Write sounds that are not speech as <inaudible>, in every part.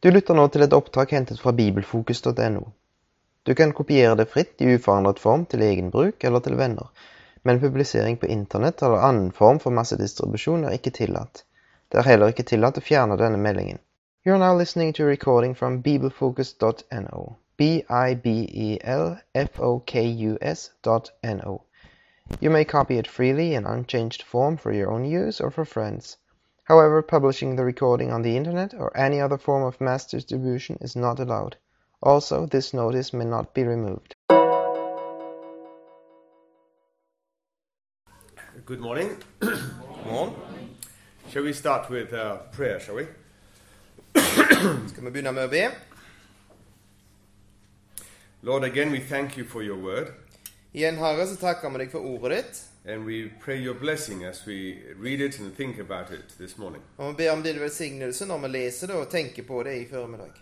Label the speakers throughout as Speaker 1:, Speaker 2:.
Speaker 1: Du lytter nå til et opptak hentet fra bibelfokus.no. Du kan kopiere det fritt i uforandret form til egen bruk eller til venner, men publisering på internett eller annen form for massedistribusjon er ikke tillatt. Det er heller ikke tillatt å fjerne denne meldingen. You are now listening to a recording from bibelfocus.no. E B-I-B-E-L-F-O-K-U-S dot N-O. You may copy it freely in unchanged form for your own use or for friends. However, publishing the recording on the internet or any other form of mass distribution is not allowed. Also, this notice may not be removed.
Speaker 2: Good morning. <clears throat> Morgen. Shall we start with uh, prayer, shall we?
Speaker 1: Skal vi begynne med å be?
Speaker 2: Lord, again, we thank you for your word,
Speaker 1: Igjen, Herre, så takker vi deg for ordet ditt,
Speaker 2: and we pray your blessing as we read it and think about it this morning.
Speaker 1: og vi ber om din velsignelse når vi leser det og tenker på det i formiddag.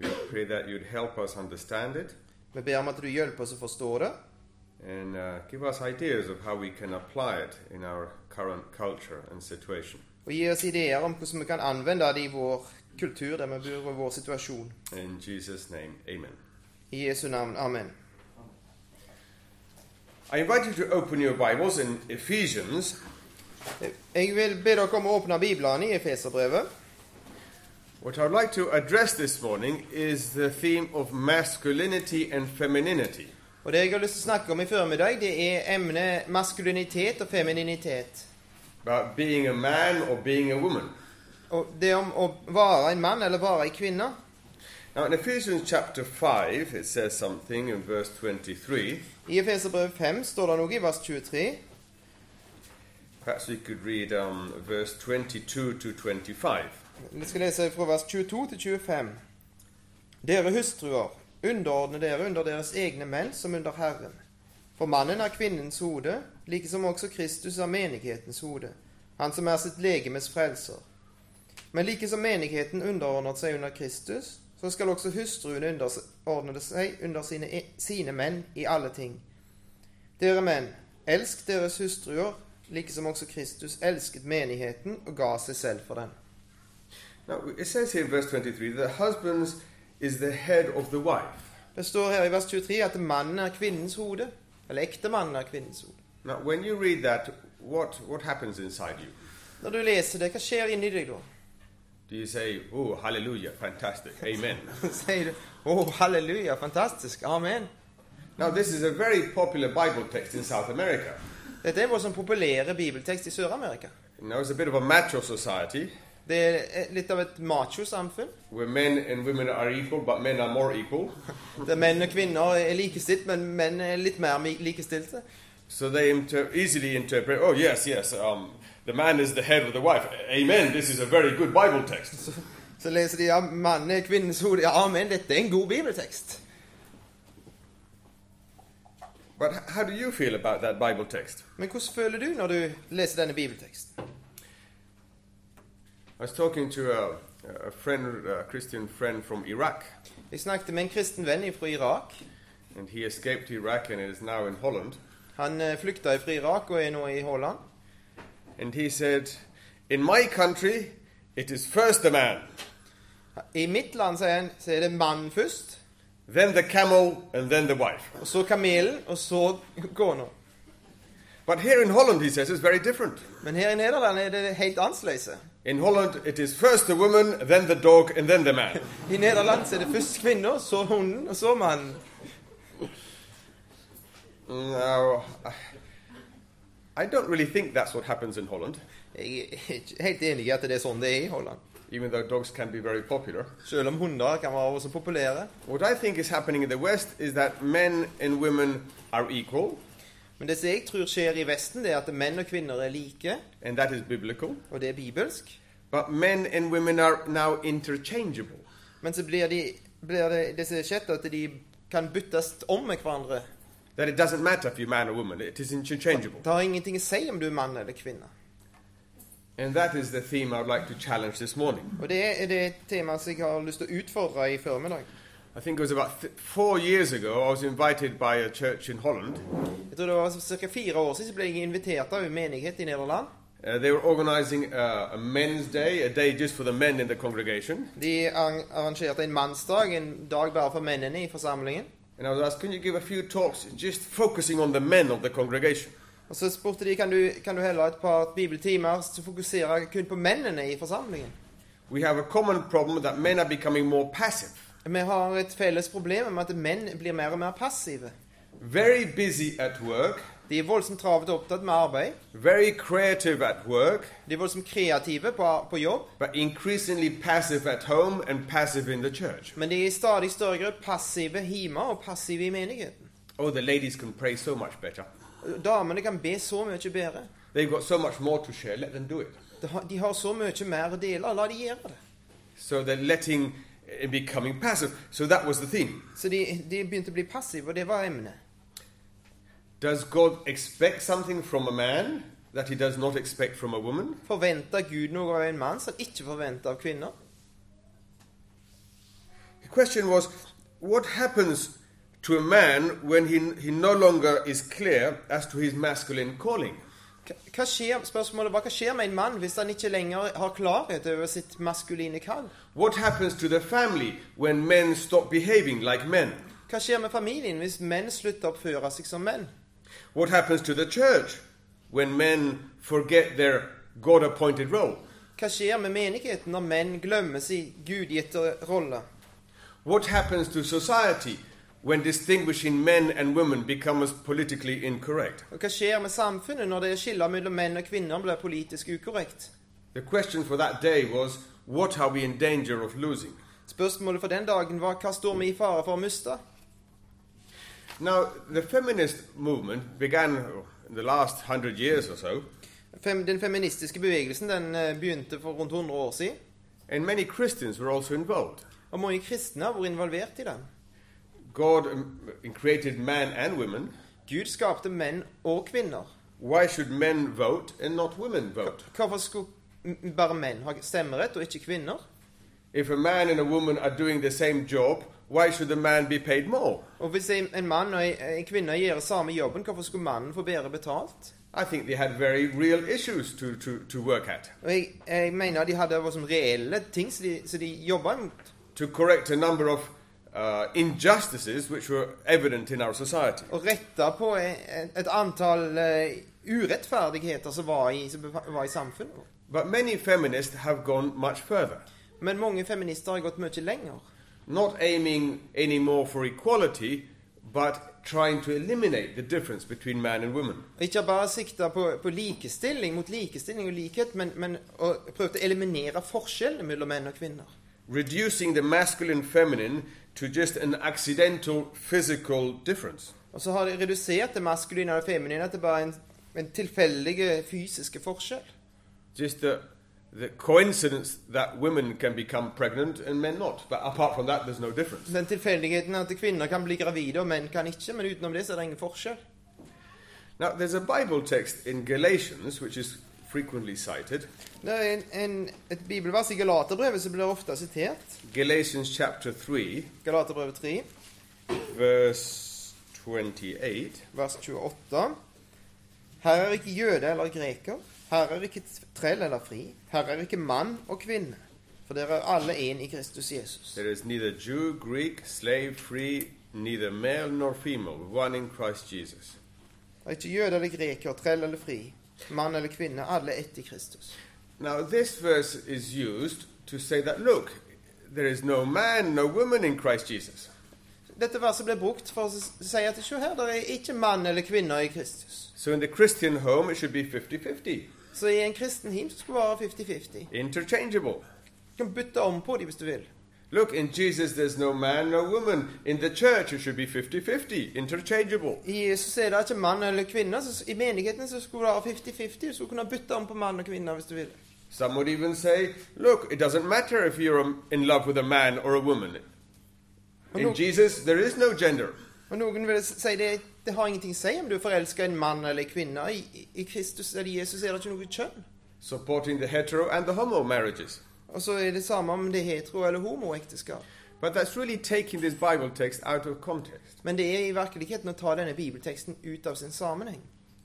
Speaker 2: We pray that you'd help us understand it
Speaker 1: Vi ber om at du hjelper oss å forstå det,
Speaker 2: and uh, give us ideas of how we can apply it in our current culture and situation.
Speaker 1: og gi oss ideer om hvordan vi kan anvende det i vår kultur, der vi bor, og vår situasjon.
Speaker 2: In Jesus' name, amen.
Speaker 1: I Jesu navn. Amen.
Speaker 2: I invite you to open your Bibles in Ephesians.
Speaker 1: Jeg vil be dere om å åpne Biblene i Efeserbrevet.
Speaker 2: What I'd like to address this morning is the theme of masculinity and femininity.
Speaker 1: Og det jeg har lyst til å snakke om i formiddag, det er emnet maskulinitet og femininitet.
Speaker 2: about being a man or being a woman.
Speaker 1: Og det om å være en mann eller være en kvinne.
Speaker 2: Now, in Ephesians chapter 5, it says something in verse 23.
Speaker 1: I Efeserbrevet 5 står det noe i vers 23.
Speaker 2: Perhaps we could read um, verse 22 to 25.
Speaker 1: Vi skal lese fra vers 22 til 25. Dere hustruer, underordne dere under deres egne menn som under Herren. For mannen er kvinnens hode, like som også Kristus er menighetens hode, han som er sitt legemes frelser. Men like som menigheten underordnet seg under Kristus, så skal også hustruene underordne seg under sine, e- sine menn i alle ting. Dere menn, elsk deres hustruer, like som også Kristus elsket menigheten og ga seg selv for den.
Speaker 2: Now, it says here in verse 23 that the husband is the head of the wife.
Speaker 1: Det står her i vers 23 at mannen er kvinnens hode. Eller ektemannen er kvinnens hode.
Speaker 2: Now, when you read that, what, what happens inside you?
Speaker 1: Når du leser det, hva skjer inni deg da? <laughs>
Speaker 2: Do you say, oh, hallelujah, fantastic, amen?
Speaker 1: Så sier du 'Å, halleluja, fantastisk, amen'.
Speaker 2: now, this is a very popular Bible text in South America.
Speaker 1: Dette er vår sånn populære bibeltekst i Sør-Amerika.
Speaker 2: Now, it's a bit of a macho society
Speaker 1: Det er litt av et macho-samfunn,
Speaker 2: where men and women are equal, but men are more equal.
Speaker 1: der menn og kvinner er likestilt, men menn er litt mer mi- likestilte.
Speaker 2: So they inter- easily interpret, oh, yes, yes, um, the man is the head of the wife. Amen, this is a very good Bible text.
Speaker 1: Så leser de ja, 'mannen er kvinnens hode'. Ja, amen, dette er en god bibeltekst.
Speaker 2: But h- how do you feel about that Bible text?
Speaker 1: Men hvordan føler du når du leser denne bibelteksten?
Speaker 2: I was talking to a, a friend, a Christian friend from Iraq,
Speaker 1: Jeg snakket med en kristen venn fra Irak.
Speaker 2: and he escaped Iraq and is now in Holland.
Speaker 1: Han eh, flykta fra Irak og er nå i Holland.
Speaker 2: And he said, In my country, it is first the man,
Speaker 1: I mitt land sier han, så er det mannen først,
Speaker 2: then the camel, and then the wife.
Speaker 1: og så kamelen, og så kona.
Speaker 2: But here in Holland, he says, it's very different.
Speaker 1: Men her i Nederland er det helt annerledes.
Speaker 2: In Holland, it is first the woman, then the dog, and then the man.
Speaker 1: I Nederland så er det først kvinna, så hunden, og så mannen.
Speaker 2: No, I- I don't really think that's what happens in Holland,
Speaker 1: Jeg er ikke helt enig i at det er sånn det er i Holland.
Speaker 2: even though dogs can be very popular.
Speaker 1: Selv om hunder kan være også populære.
Speaker 2: What I think is happening in the West is that men and women are equal,
Speaker 1: Men det som jeg tror skjer i Vesten, det er at menn og kvinner er like,
Speaker 2: and that is biblical,
Speaker 1: og det er bibelsk.
Speaker 2: but men and women are now interchangeable.
Speaker 1: Men så blir, de, blir det det som har skjedd, at de kan byttes om med hverandre.
Speaker 2: That it doesn't matter if you're man or woman, it is interchangeable.
Speaker 1: Det har ingenting å si om du er mann eller kvinne.
Speaker 2: And that is the theme I'd like to challenge this morning.
Speaker 1: Og det er det temaet som jeg har lyst til å utfordre i formiddag.
Speaker 2: I think it was about th- four years ago, I was invited by a church in Holland,
Speaker 1: Jeg tror det var ca. fire år siden så ble jeg invitert av en menighet i Nederland.
Speaker 2: Uh, they were organizing uh, a men's day, a day just for the men in the congregation.
Speaker 1: De arran- arrangerte en mannsdag, en dag bare for mennene i forsamlingen.
Speaker 2: And I was asked, can you give a few talks just focusing on the men of the congregation?
Speaker 1: Og så spurte de kan du kan du heller ha et par bibeltimer som fokuserer kun på mennene i forsamlingen.
Speaker 2: We have a common problem that men are becoming more passive,
Speaker 1: Vi har et felles problem med at menn blir mer og mer passive.
Speaker 2: very busy at work,
Speaker 1: De er voldsomt travet og opptatt med arbeid.
Speaker 2: very creative at work,
Speaker 1: De er voldsomt kreative på, på jobb.
Speaker 2: but increasingly passive at home and passive in the church.
Speaker 1: Men de er i stadig større grad passive hjemme og passive i menigheten.
Speaker 2: Oh, the ladies can pray so much better.
Speaker 1: Damene kan be så mye bedre.
Speaker 2: They've got so much more to share, let them do it.
Speaker 1: De har- De har så mye mer å dele. La de gjøre det.
Speaker 2: So they're letting and becoming passive. So that was the theme.
Speaker 1: Så de, de begynte å bli passive, og det var emnet.
Speaker 2: Does God expect something from a man that he does not expect from a woman?
Speaker 1: Forventa Gud noe av en mann som han ikke forventa av kvinner?
Speaker 2: The question was what happens to a man when he, he no longer is clear as to his masculine calling?
Speaker 1: Hva- Hva skjer, spørsmålet var hva skjer med en mann hvis han ikke lenger har klarhet over sitt maskuline kall?
Speaker 2: What happens to the family when men stop behaving like men?
Speaker 1: Hva skjer med familien hvis menn slutter å oppføre seg som menn?
Speaker 2: What happens to the church when men forget their God appointed role?
Speaker 1: Hva skjer med menigheten når menn glemmer sin gudgitte rolle?
Speaker 2: What happens to society when distinguishing men and women becomes politically incorrect?
Speaker 1: Og hva skjer med samfunnet når det er skiller mellom menn og kvinner blir politisk ukorrekt?
Speaker 2: The question for that day was what are we in danger of losing?
Speaker 1: Spørsmålet for den dagen var hva står vi i fare for å miste?
Speaker 2: Now, the feminist movement began in the last hundred years or so,
Speaker 1: Fem, den feministiske bevegelsen den eh, begynte for rundt 100 år siden,
Speaker 2: and many Christians were also involved.
Speaker 1: og mange kristne har vært involvert i den.
Speaker 2: God um, created man and women.
Speaker 1: Gud skapte menn og kvinner.
Speaker 2: Why should men vote and not women vote?
Speaker 1: Hvorfor skulle m- bare menn ha stemmerett og ikke kvinner?
Speaker 2: If a man and a woman are doing the same job, why should the man be paid more?
Speaker 1: Og hvis en en mann og en- en kvinne gjør samme jobben, hvorfor skulle mannen få bedre betalt?
Speaker 2: I think they had very real issues to, to, to work at.
Speaker 1: Og jeg, jeg mener de hadde liksom reelle ting som de, som de jobba mot.
Speaker 2: to correct a number of uh, injustices which were evident in our society.
Speaker 1: Og retta på e, et, et antall eh, urettferdigheter som var i, som befa- var i samfunnet. vårt.
Speaker 2: But many feminists have gone much further,
Speaker 1: Men mange feminister har gått mye lenger.
Speaker 2: not aiming anymore for equality, but trying to eliminate the difference between man and woman.
Speaker 1: Og Ikke bare sikta på, på likestilling mot likestilling og likhet, men, men og prøvde å eliminere forskjellene mellom menn og kvinner.
Speaker 2: Reducing the masculine feminine to just an accidental physical difference.
Speaker 1: Og så har de redusert det maskuline og det feminine til bare en, en tilfeldige fysiske forskjell.
Speaker 2: Just the, the coincidence that women can become pregnant and men not. But apart from that, there's no difference.
Speaker 1: Den tilfeldigheten at kvinner kan bli gravide og menn kan ikke, men utenom det så er det ingen forskjell.
Speaker 2: Now, there's a Bible text in Galatians which is frequently cited.
Speaker 1: Det er en, en, et bibelvers i Galaterbrevet som blir ofte sitert.
Speaker 2: Galatians chapter 3,
Speaker 1: Galaterbrevet 3,
Speaker 2: verse 28.
Speaker 1: vers 28. Her er ikke jøde eller greker. Her er ikke trell eller fri. Her er ikke mann og kvinne. For dere er alle én i Kristus Jesus.
Speaker 2: There is neither Jew, Greek, slave, free, neither male nor female, one in Christ Jesus.
Speaker 1: Det er ikke jøde eller greker, trell eller fri. Mann eller kvinne. Alle ett i Kristus.
Speaker 2: Now, this verse is used to say that, look, there is no man, no woman in Christ Jesus.
Speaker 1: Dette verset ble brukt for å s- si at se her, det er ikke mann eller kvinne i Kristus.
Speaker 2: So, in the Christian home, it should be 50 50,
Speaker 1: Så i en kristen hymn så skal det være 50-50.
Speaker 2: interchangeable.
Speaker 1: Du kan bytte om på dem hvis du vil.
Speaker 2: Look, in Jesus, there's no man, no woman. In the church, it should be 50 50, interchangeable.
Speaker 1: I Jesus er det ikke mann eller kvinne. Så I menigheten så skulle det være 50-50. Du skulle kunne bytte om på mann og kvinne hvis du vil.
Speaker 2: Some would even say, look, it doesn't matter if you're um, in love with a man or a woman.
Speaker 1: Hello.
Speaker 2: In Jesus, there is no gender.
Speaker 1: Og noen vil si det, det har ingenting å si om du er forelska i en mann eller en kvinne. I, I Kristus eller Jesus er det ikke noe kjønn.
Speaker 2: Supporting the hetero and the homo marriages.
Speaker 1: Og så er det samme om det er hetero- eller homoekteskap.
Speaker 2: But that's really taking this Bible text out of context.
Speaker 1: Men det er i virkeligheten å ta denne bibelteksten ut av sin sammenheng.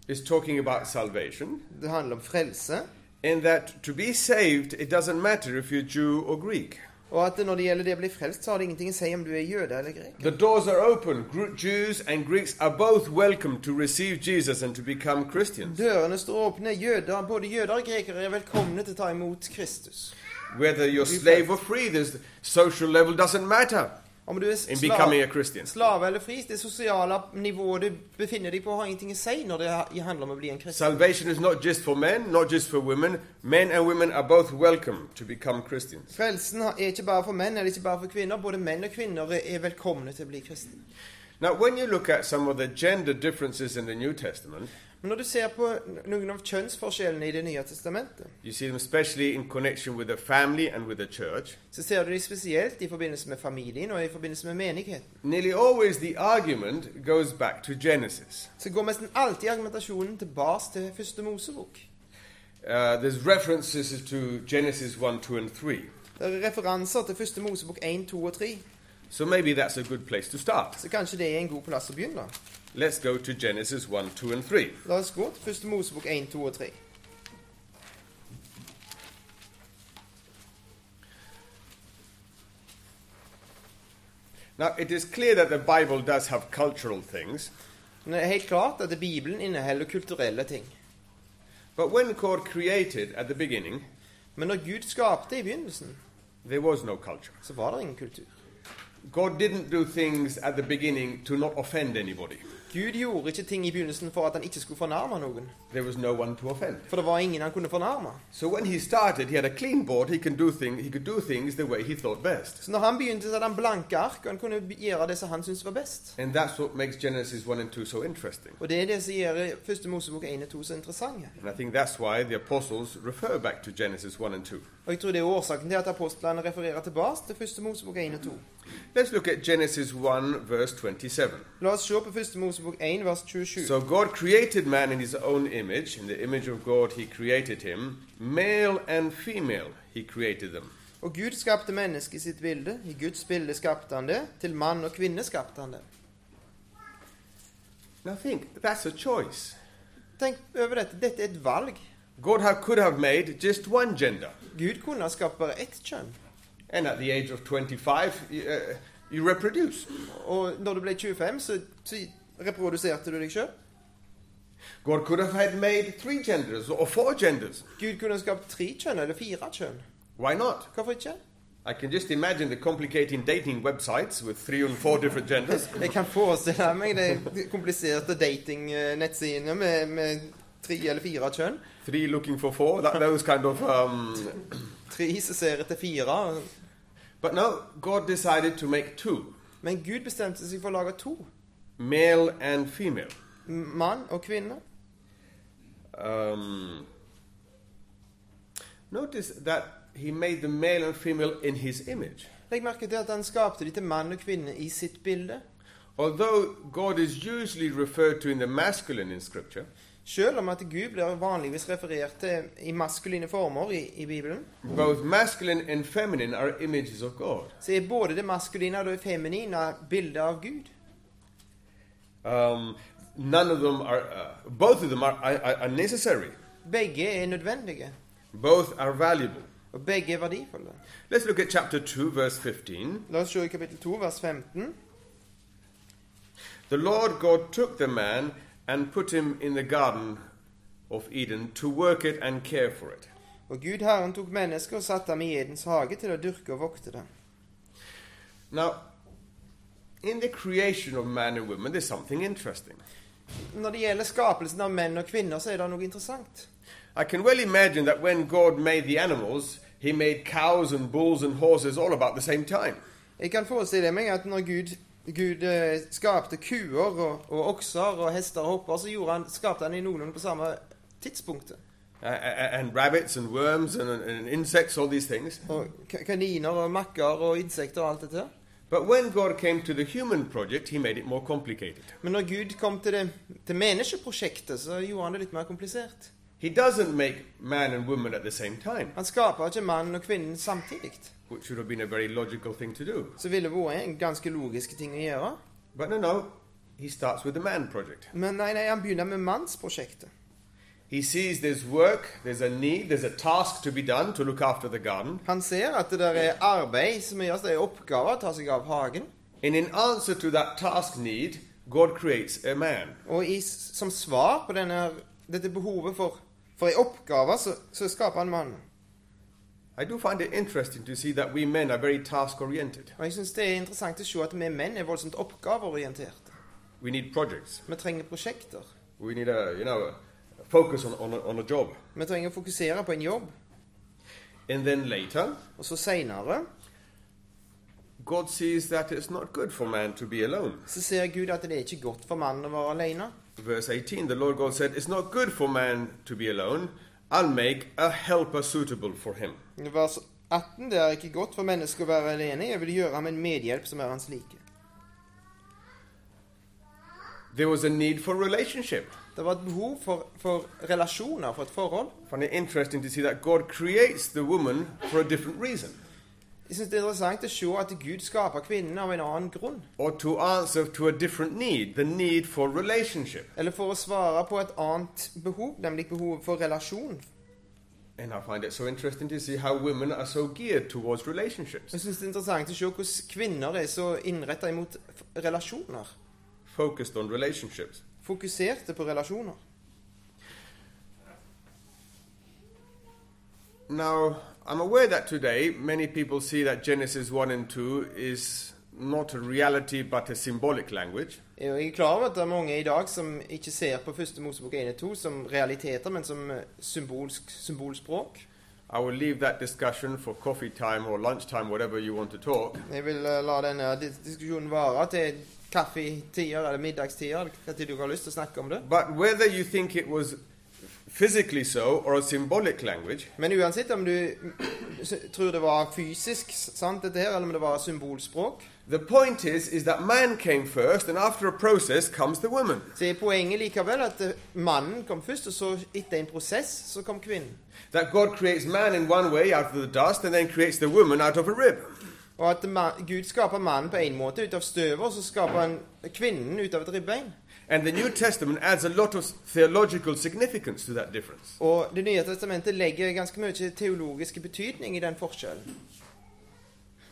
Speaker 2: is talking about salvation,
Speaker 1: Det handler om frelse.
Speaker 2: and that to be saved, it doesn't matter if you're Jew or Greek.
Speaker 1: Og at når det gjelder det å bli frelst, så har det ingenting å si om du er jøde eller greker.
Speaker 2: The doors are open. Gr- Jews and Greeks are both welcome to receive Jesus and to become Christians.
Speaker 1: Dørene står åpne. Jøder, både jøder og grekere er velkomne til å ta imot Kristus.
Speaker 2: Whether you're slave or free, this social level doesn't matter
Speaker 1: Om du er
Speaker 2: in
Speaker 1: slav,
Speaker 2: becoming a Christian.
Speaker 1: slave eller fri, det sosiale nivået du befinner deg på, har ingenting å si når det handler om å bli en kristen.
Speaker 2: Salvation is not just for men, not just for women. Men and women are both welcome to become Christians.
Speaker 1: Frelsen har- er ikke bare for menn eller ikke bare for kvinner. Både menn og kvinner er- er velkomne til å bli kristne.
Speaker 2: Now, when you look at some of the gender differences in the New Testament,
Speaker 1: Men når du ser på noen av kjønnsforskjellene i Det nye testamentet,
Speaker 2: you see them especially in connection with the family and with the church.
Speaker 1: så ser du de spesielt i forbindelse med familien og i forbindelse med menigheten.
Speaker 2: Nearly always the argument goes back to Genesis.
Speaker 1: Så går nesten alltid argumentasjonen tilbake til første Mosebok.
Speaker 2: Uh, there's references to Genesis 1, 2, and 3.
Speaker 1: Det er referanser til første Mosebok 1, 2 og 3,
Speaker 2: So maybe that's a good place to start.
Speaker 1: så kanskje det er en god plass å begynne.
Speaker 2: Let's go to Genesis 1, 2, and 3.
Speaker 1: La oss gå til første Mosebok 1, 2 og 3.
Speaker 2: Now, it is clear that the Bible does have cultural things,
Speaker 1: Men det er helt klart at Bibelen inneholder kulturelle ting.
Speaker 2: but when God created at the beginning,
Speaker 1: Men når Gud skapte i begynnelsen,
Speaker 2: there was no culture.
Speaker 1: så var det ingen kultur.
Speaker 2: God didn't do things at the beginning to not offend anybody.
Speaker 1: Gud gjorde ikke ting i begynnelsen for at han ikke skulle fornærme noen.
Speaker 2: There was no one to offend.
Speaker 1: For det var ingen han kunne fornærme.
Speaker 2: So when he started, he had a clean board. He can do thing, He could do things the way he thought best,
Speaker 1: Så når han begynte, så hadde han blanke ark, og han kunne gjøre det som han syntes var best.
Speaker 2: and that's what makes Genesis one and two so interesting.
Speaker 1: Og det er det som gjør første Mosebok 1 og 2 så interessante.
Speaker 2: And I think that's why the apostles refer back to Genesis one and two.
Speaker 1: Og jeg tror det er årsaken til at apostlene refererer tilbake til første Mosebok 1 og 2.
Speaker 2: Let's look at Genesis one verse twenty-seven.
Speaker 1: La oss se på første Mosebok 1 vers 27.
Speaker 2: So God created man in his own image. In the image of God, he created him. Male and female, he created them.
Speaker 1: Og Gud skapte mennesket i sitt bilde. I Guds bilde skapte han det. Til mann og kvinne skapte han det.
Speaker 2: Now think, that's a choice.
Speaker 1: Tenk over dette. Dette er et valg.
Speaker 2: God have, could have made just one gender.
Speaker 1: Gud kunne ha skapt bare ett kjønn.
Speaker 2: And at the age of 25, you, uh, you reproduce.
Speaker 1: Og når du ble 25, så, så reproduserte du deg sjøl.
Speaker 2: God could have had made three genders or four genders.
Speaker 1: Gud kunne ha skapt tre kjønn eller fire kjønn.
Speaker 2: Why not?
Speaker 1: Hvorfor ikke?
Speaker 2: I can just imagine the complicating dating websites with three and four different genders.
Speaker 1: Jeg kan forestille meg de kompliserte datingnettsidene med, med tre eller fire kjønn.
Speaker 2: Three looking for four, that, those kind of. Um,
Speaker 1: Tre som ser etter fire.
Speaker 2: but no, God decided to make two
Speaker 1: Men Gud bestemte seg for å lage to.
Speaker 2: male and female.
Speaker 1: Mann og kvinne.
Speaker 2: Um, notice that he made the male and female in his image.
Speaker 1: Legg merke til at han skapte de til mann og kvinne i sitt bilde.
Speaker 2: Although God is usually referred to in the masculine in Scripture,
Speaker 1: Selv om at Gud blir vanligvis referert til i maskuline former i, i Bibelen,
Speaker 2: both masculine and feminine are images of God.
Speaker 1: så er både det maskuline og det feminine bilder av Gud.
Speaker 2: Um, none of them are, uh, both of them are, are, are necessary.
Speaker 1: Begge er nødvendige,
Speaker 2: Both are valuable.
Speaker 1: og begge er verdifulle.
Speaker 2: Let's look at chapter 2, verse 15.
Speaker 1: La oss se i kapittel 2, vers 15.
Speaker 2: The Lord God took the man and put him in the garden of Eden to work it and care for it.
Speaker 1: Og Gud Herren tok mennesket og satte ham i Edens hage til å dyrke og vokte det.
Speaker 2: Now, in the creation of man and woman, there's something interesting.
Speaker 1: Når det gjelder skapelsen av menn og kvinner, så er det noe interessant.
Speaker 2: I can well imagine that when God made the animals, he made cows and bulls and horses all about the same time.
Speaker 1: Jeg kan forestille meg at når Gud, Gud eh, skapte kuer og, og okser og hester og hopper, så gjorde han, skapte han i noenlunde på samme tidspunktet.
Speaker 2: Uh, and rabbits and worms and, and insects, all these things.
Speaker 1: Og ka- kaniner og makker og insekter og alt dette.
Speaker 2: But when God came to the human project, he made it more complicated.
Speaker 1: Men når Gud kom til, det, til menneskeprosjektet, så gjorde han det litt mer komplisert.
Speaker 2: He doesn't make man and woman at the same time,
Speaker 1: Han skaper ikke mannen og kvinnen samtidig.
Speaker 2: which would have been a very logical thing to do.
Speaker 1: Så ville det vært en ganske logisk ting å gjøre.
Speaker 2: But no, no. he starts with the man project.
Speaker 1: Men nei, nei, han begynner med mannsprosjektet.
Speaker 2: He sees there's work, there's a need, there's a task to be done to look after the garden.
Speaker 1: Han ser at det der er arbeid som gjøres, det er oppgaver å ta seg av hagen.
Speaker 2: And in answer to that task need, God creates a man.
Speaker 1: Og i, som svar på denne, dette behovet for, for en oppgave, så, så skaper han mannen.
Speaker 2: I do find it interesting to see that we men are very task oriented.
Speaker 1: Og jeg syns det er interessant å se at vi menn er voldsomt oppgaveorienterte.
Speaker 2: We need projects.
Speaker 1: Vi trenger prosjekter.
Speaker 2: We need a, you know, a focus on, on, a, on a job.
Speaker 1: Vi trenger å fokusere på en jobb.
Speaker 2: And then later,
Speaker 1: Og så seinere
Speaker 2: God sees that it's not good for man to be alone.
Speaker 1: så ser Gud at det er ikke godt for mannen å være alene.
Speaker 2: Verse 18, the Lord God said, It's not good for man to be alone. I'll make a helper suitable for him.
Speaker 1: I Vers 18 det er ikke godt for mennesket å være alene. Jeg vil gjøre ham en medhjelp som er hans like.
Speaker 2: There was a need for relationship.
Speaker 1: Det var et behov for, for relasjoner, for et forhold.
Speaker 2: find it interesting to see that God creates the woman for a different reason,
Speaker 1: Jeg syns det er interessant å se at Gud skaper kvinnen av en annen grunn.
Speaker 2: or to answer to a different need, the need for relationship.
Speaker 1: Eller for å svare på et annet behov, nemlig behovet for relasjon.
Speaker 2: And I find it so interesting to see how women are so geared towards relationships,
Speaker 1: Jeg syns det er interessant å se hvordan kvinner er så innretta imot f- relasjoner.
Speaker 2: focused on relationships.
Speaker 1: Fokuserte på relasjoner.
Speaker 2: Now, I'm aware that today many people see that Genesis 1 and 2 is not a reality but a symbolic language.
Speaker 1: Jeg er klar over at det er mange i dag som ikke ser på første Mosebok 1 og 2 som realiteter, men som eh, symbolsk, symbolspråk.
Speaker 2: I will leave that discussion for coffee time or lunchtime, whatever you want to talk.
Speaker 1: Jeg vil eh, la denne dis- diskusjonen vare til kaffetider eller middagstider, hva tid du har lyst til å snakke om det.
Speaker 2: But whether you think it was physically so or a symbolic language,
Speaker 1: Men uansett om du s- tror det var fysisk s- sant dette her, eller om det var symbolspråk,
Speaker 2: The point is, is that man came first, and after a process comes the woman.
Speaker 1: så er poenget likevel at eh, mannen kom først, og så etter en prosess så kom kvinnen.
Speaker 2: That God creates man in one way out of the dust, and then creates the woman out of a rib.
Speaker 1: Og at ma- Gud skaper mannen på en måte ut av støvet, og så skaper han kvinnen ut av et ribbein.
Speaker 2: And the New Testament adds a lot of theological significance to that difference.
Speaker 1: Og Det nye testamentet legger ganske mye teologisk betydning i den forskjellen.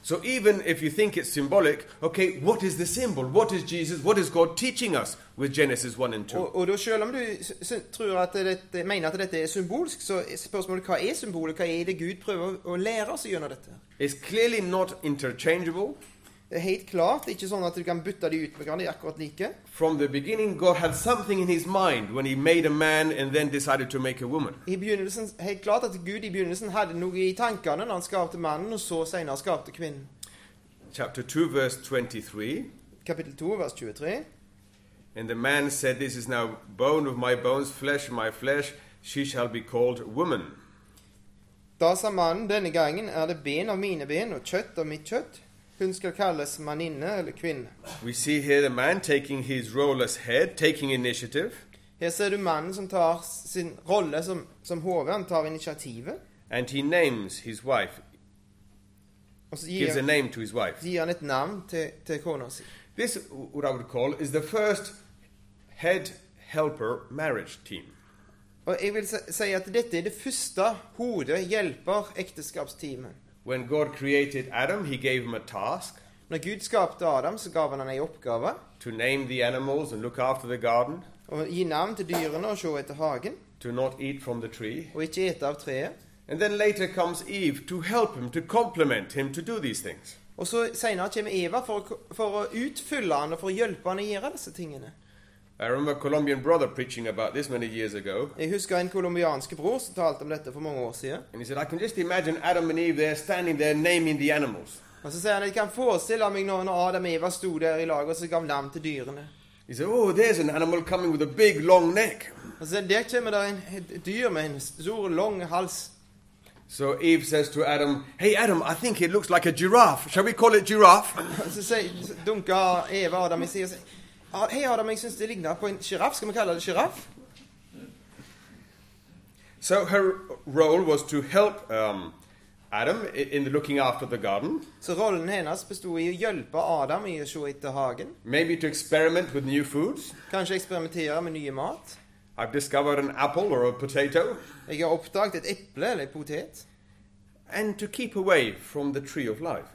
Speaker 2: So even if you think it's symbolic, okay, what is the symbol? What is Jesus? What is God teaching us with Genesis 1 and 2?
Speaker 1: Og, og da Selv om du s s- tror at dette, mener at dette er symbolsk, så er spørsmålet hva er symbolet? Hva er det Gud prøver å lære oss gjennom dette?
Speaker 2: It's clearly not interchangeable.
Speaker 1: Det er helt klart ikke sånn at du kan bytte de ut med hverandre de er akkurat like.
Speaker 2: From the beginning, God had something in his mind when he made a man and then decided to make a woman.
Speaker 1: I begynnelsen, Helt klart at Gud i begynnelsen hadde noe i tankene når han skapte mannen, og så senere skapte kvinnen.
Speaker 2: Chapter 2, verse 23.
Speaker 1: Kapittel 2, vers 23.
Speaker 2: And the man said, This is now bone of my bones, flesh of my flesh, she shall be called woman.
Speaker 1: Da sa mannen denne gangen er det ben av mine ben og kjøtt av mitt kjøtt. Hun skal kalles manninne eller kvinne.
Speaker 2: We see here the man taking his role as head, taking initiative,
Speaker 1: Her ser du mannen som tar sin rolle som, som HV. Han tar initiativet,
Speaker 2: and he names his wife,
Speaker 1: og så
Speaker 2: gives
Speaker 1: gir,
Speaker 2: a name to his wife.
Speaker 1: gir han et navn til, til kona si.
Speaker 2: This, what I would call, is the first head helper marriage team.
Speaker 1: Og jeg vil se- si at dette er det første hodet hjelper ekteskapsteamet.
Speaker 2: When God created Adam, he gave him a task
Speaker 1: Når Gud skapte Adam, så gav han ham en oppgave
Speaker 2: to name the animals and look after the garden,
Speaker 1: å gi navn til dyrene og se etter hagen,
Speaker 2: to not eat from the tree.
Speaker 1: og ikke ete av treet.
Speaker 2: And then later comes Eve to help him, to complement him, to do these things.
Speaker 1: Og så senere kommer Eva for, å k- for å utfylle han og for å hjelpe han å gjøre disse tingene.
Speaker 2: I remember a Colombian brother preaching about this many years ago,
Speaker 1: Jeg husker en colombiansk bror som talte om dette for mange år siden.
Speaker 2: and he said, I can just imagine Adam and Eve there standing there naming the animals.
Speaker 1: Og så sier han jeg kan forestille meg når når Adam og Eva sto der i lag og så gav navn til dyrene.
Speaker 2: He said, Oh, there's an animal coming with a big long neck.
Speaker 1: Og så sier han, der kommer det en, et dyr med en stor, lang hals.
Speaker 2: So Eve says to Adam, Hey Adam, I think it looks like a giraffe. Shall we call it giraffe?
Speaker 1: Og så sier, så dunker Eva Adam i siden og sier «Ah, Hei, Adam, jeg syns det ligner på en sjiraff. Skal vi kalle det sjiraff?
Speaker 2: so her role was to help um, Adam i- in the looking after the garden,
Speaker 1: Så rollen hennes bestod i å hjelpe Adam i å se etter hagen.
Speaker 2: maybe to experiment with new foods.
Speaker 1: Kanskje eksperimentere med nye mat.
Speaker 2: I've discovered an apple or a potato,
Speaker 1: Jeg har oppdaget et eple eller en potet.
Speaker 2: and to keep away from the tree of life.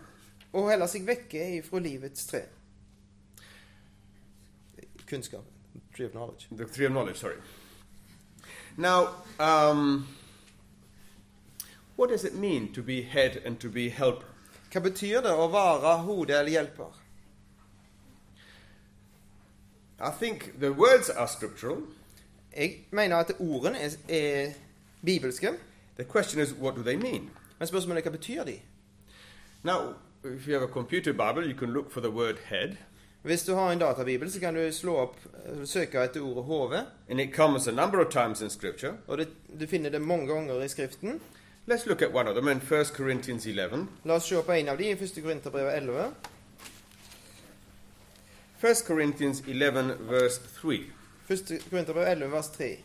Speaker 1: Og holde seg vekke ifra livets tre. Kunnskap. Tree of knowledge.
Speaker 2: The tree of knowledge, sorry. Now, um, what does it mean to be head and to be helper?
Speaker 1: Hva betyr det å være hode eller hjelper?
Speaker 2: I think the words are scriptural.
Speaker 1: Jeg mener at ordene er, er bibelske,
Speaker 2: The question is, what do they mean?
Speaker 1: men spørsmålet er hva betyr de?
Speaker 2: Now, if you have a computer Bible, you can look for the word head,
Speaker 1: Hvis du har en databibel, så kan du slå opp, eh, søke etter ordet hode,
Speaker 2: and it comes a number of times in Scripture.
Speaker 1: og det, du finner det mange ganger i Skriften.
Speaker 2: Let's look at one of them in 1 Corinthians 11.
Speaker 1: La oss se på en av de i 1. Korinterbrevet 11.
Speaker 2: 1 Corinthians 11, verse 3.
Speaker 1: 1. Korinterbrev 11, vers 3.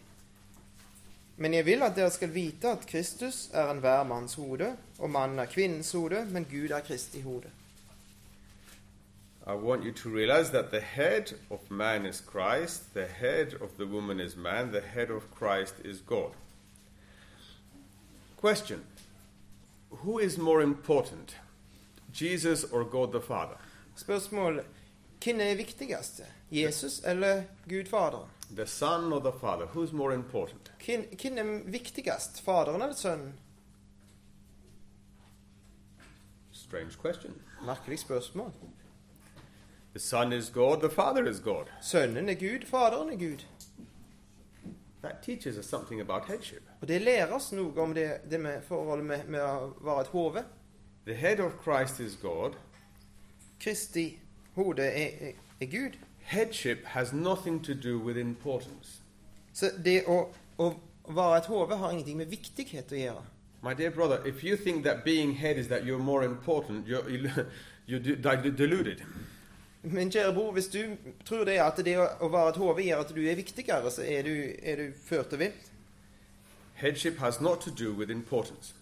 Speaker 1: Men jeg vil at dere skal vite at Kristus er enhver manns hode, og mannen er kvinnens hode, men Gud er Kristi hode.
Speaker 2: I want you to realize that the head of man is Christ, the head of the woman is man, the head of Christ is God. Question Who is more important, Jesus or God the Father?
Speaker 1: Spørsmål Hvem er viktigst? Jesus eller Gud Faderen?
Speaker 2: The Son or the Father? Who's more important?
Speaker 1: Hvem, hvem er viktigst? Faderen eller sønnen?
Speaker 2: Strange question.
Speaker 1: Merkelig spørsmål.
Speaker 2: The Son is God, the Father is God.
Speaker 1: Sønnen er Gud, Faderen er Gud.
Speaker 2: That teaches us something about headship.
Speaker 1: Og det lærer oss noe om det, det med forholdet med, med å være et hode.
Speaker 2: The head of Christ is God.
Speaker 1: Kristi hode er, er, er Gud.
Speaker 2: Headship has nothing to do with importance.
Speaker 1: Så det å, å være et hode har ingenting med viktighet å gjøre.
Speaker 2: My dear brother, if you think that being head is that you're more important, you're, <laughs> you- you're de- de- deluded.
Speaker 1: Min kjære bror, hvis du tror det at det å, å være et hode gjør at du er viktigere, så er du, er du ført og vilt.
Speaker 2: Headship has not to do with importance.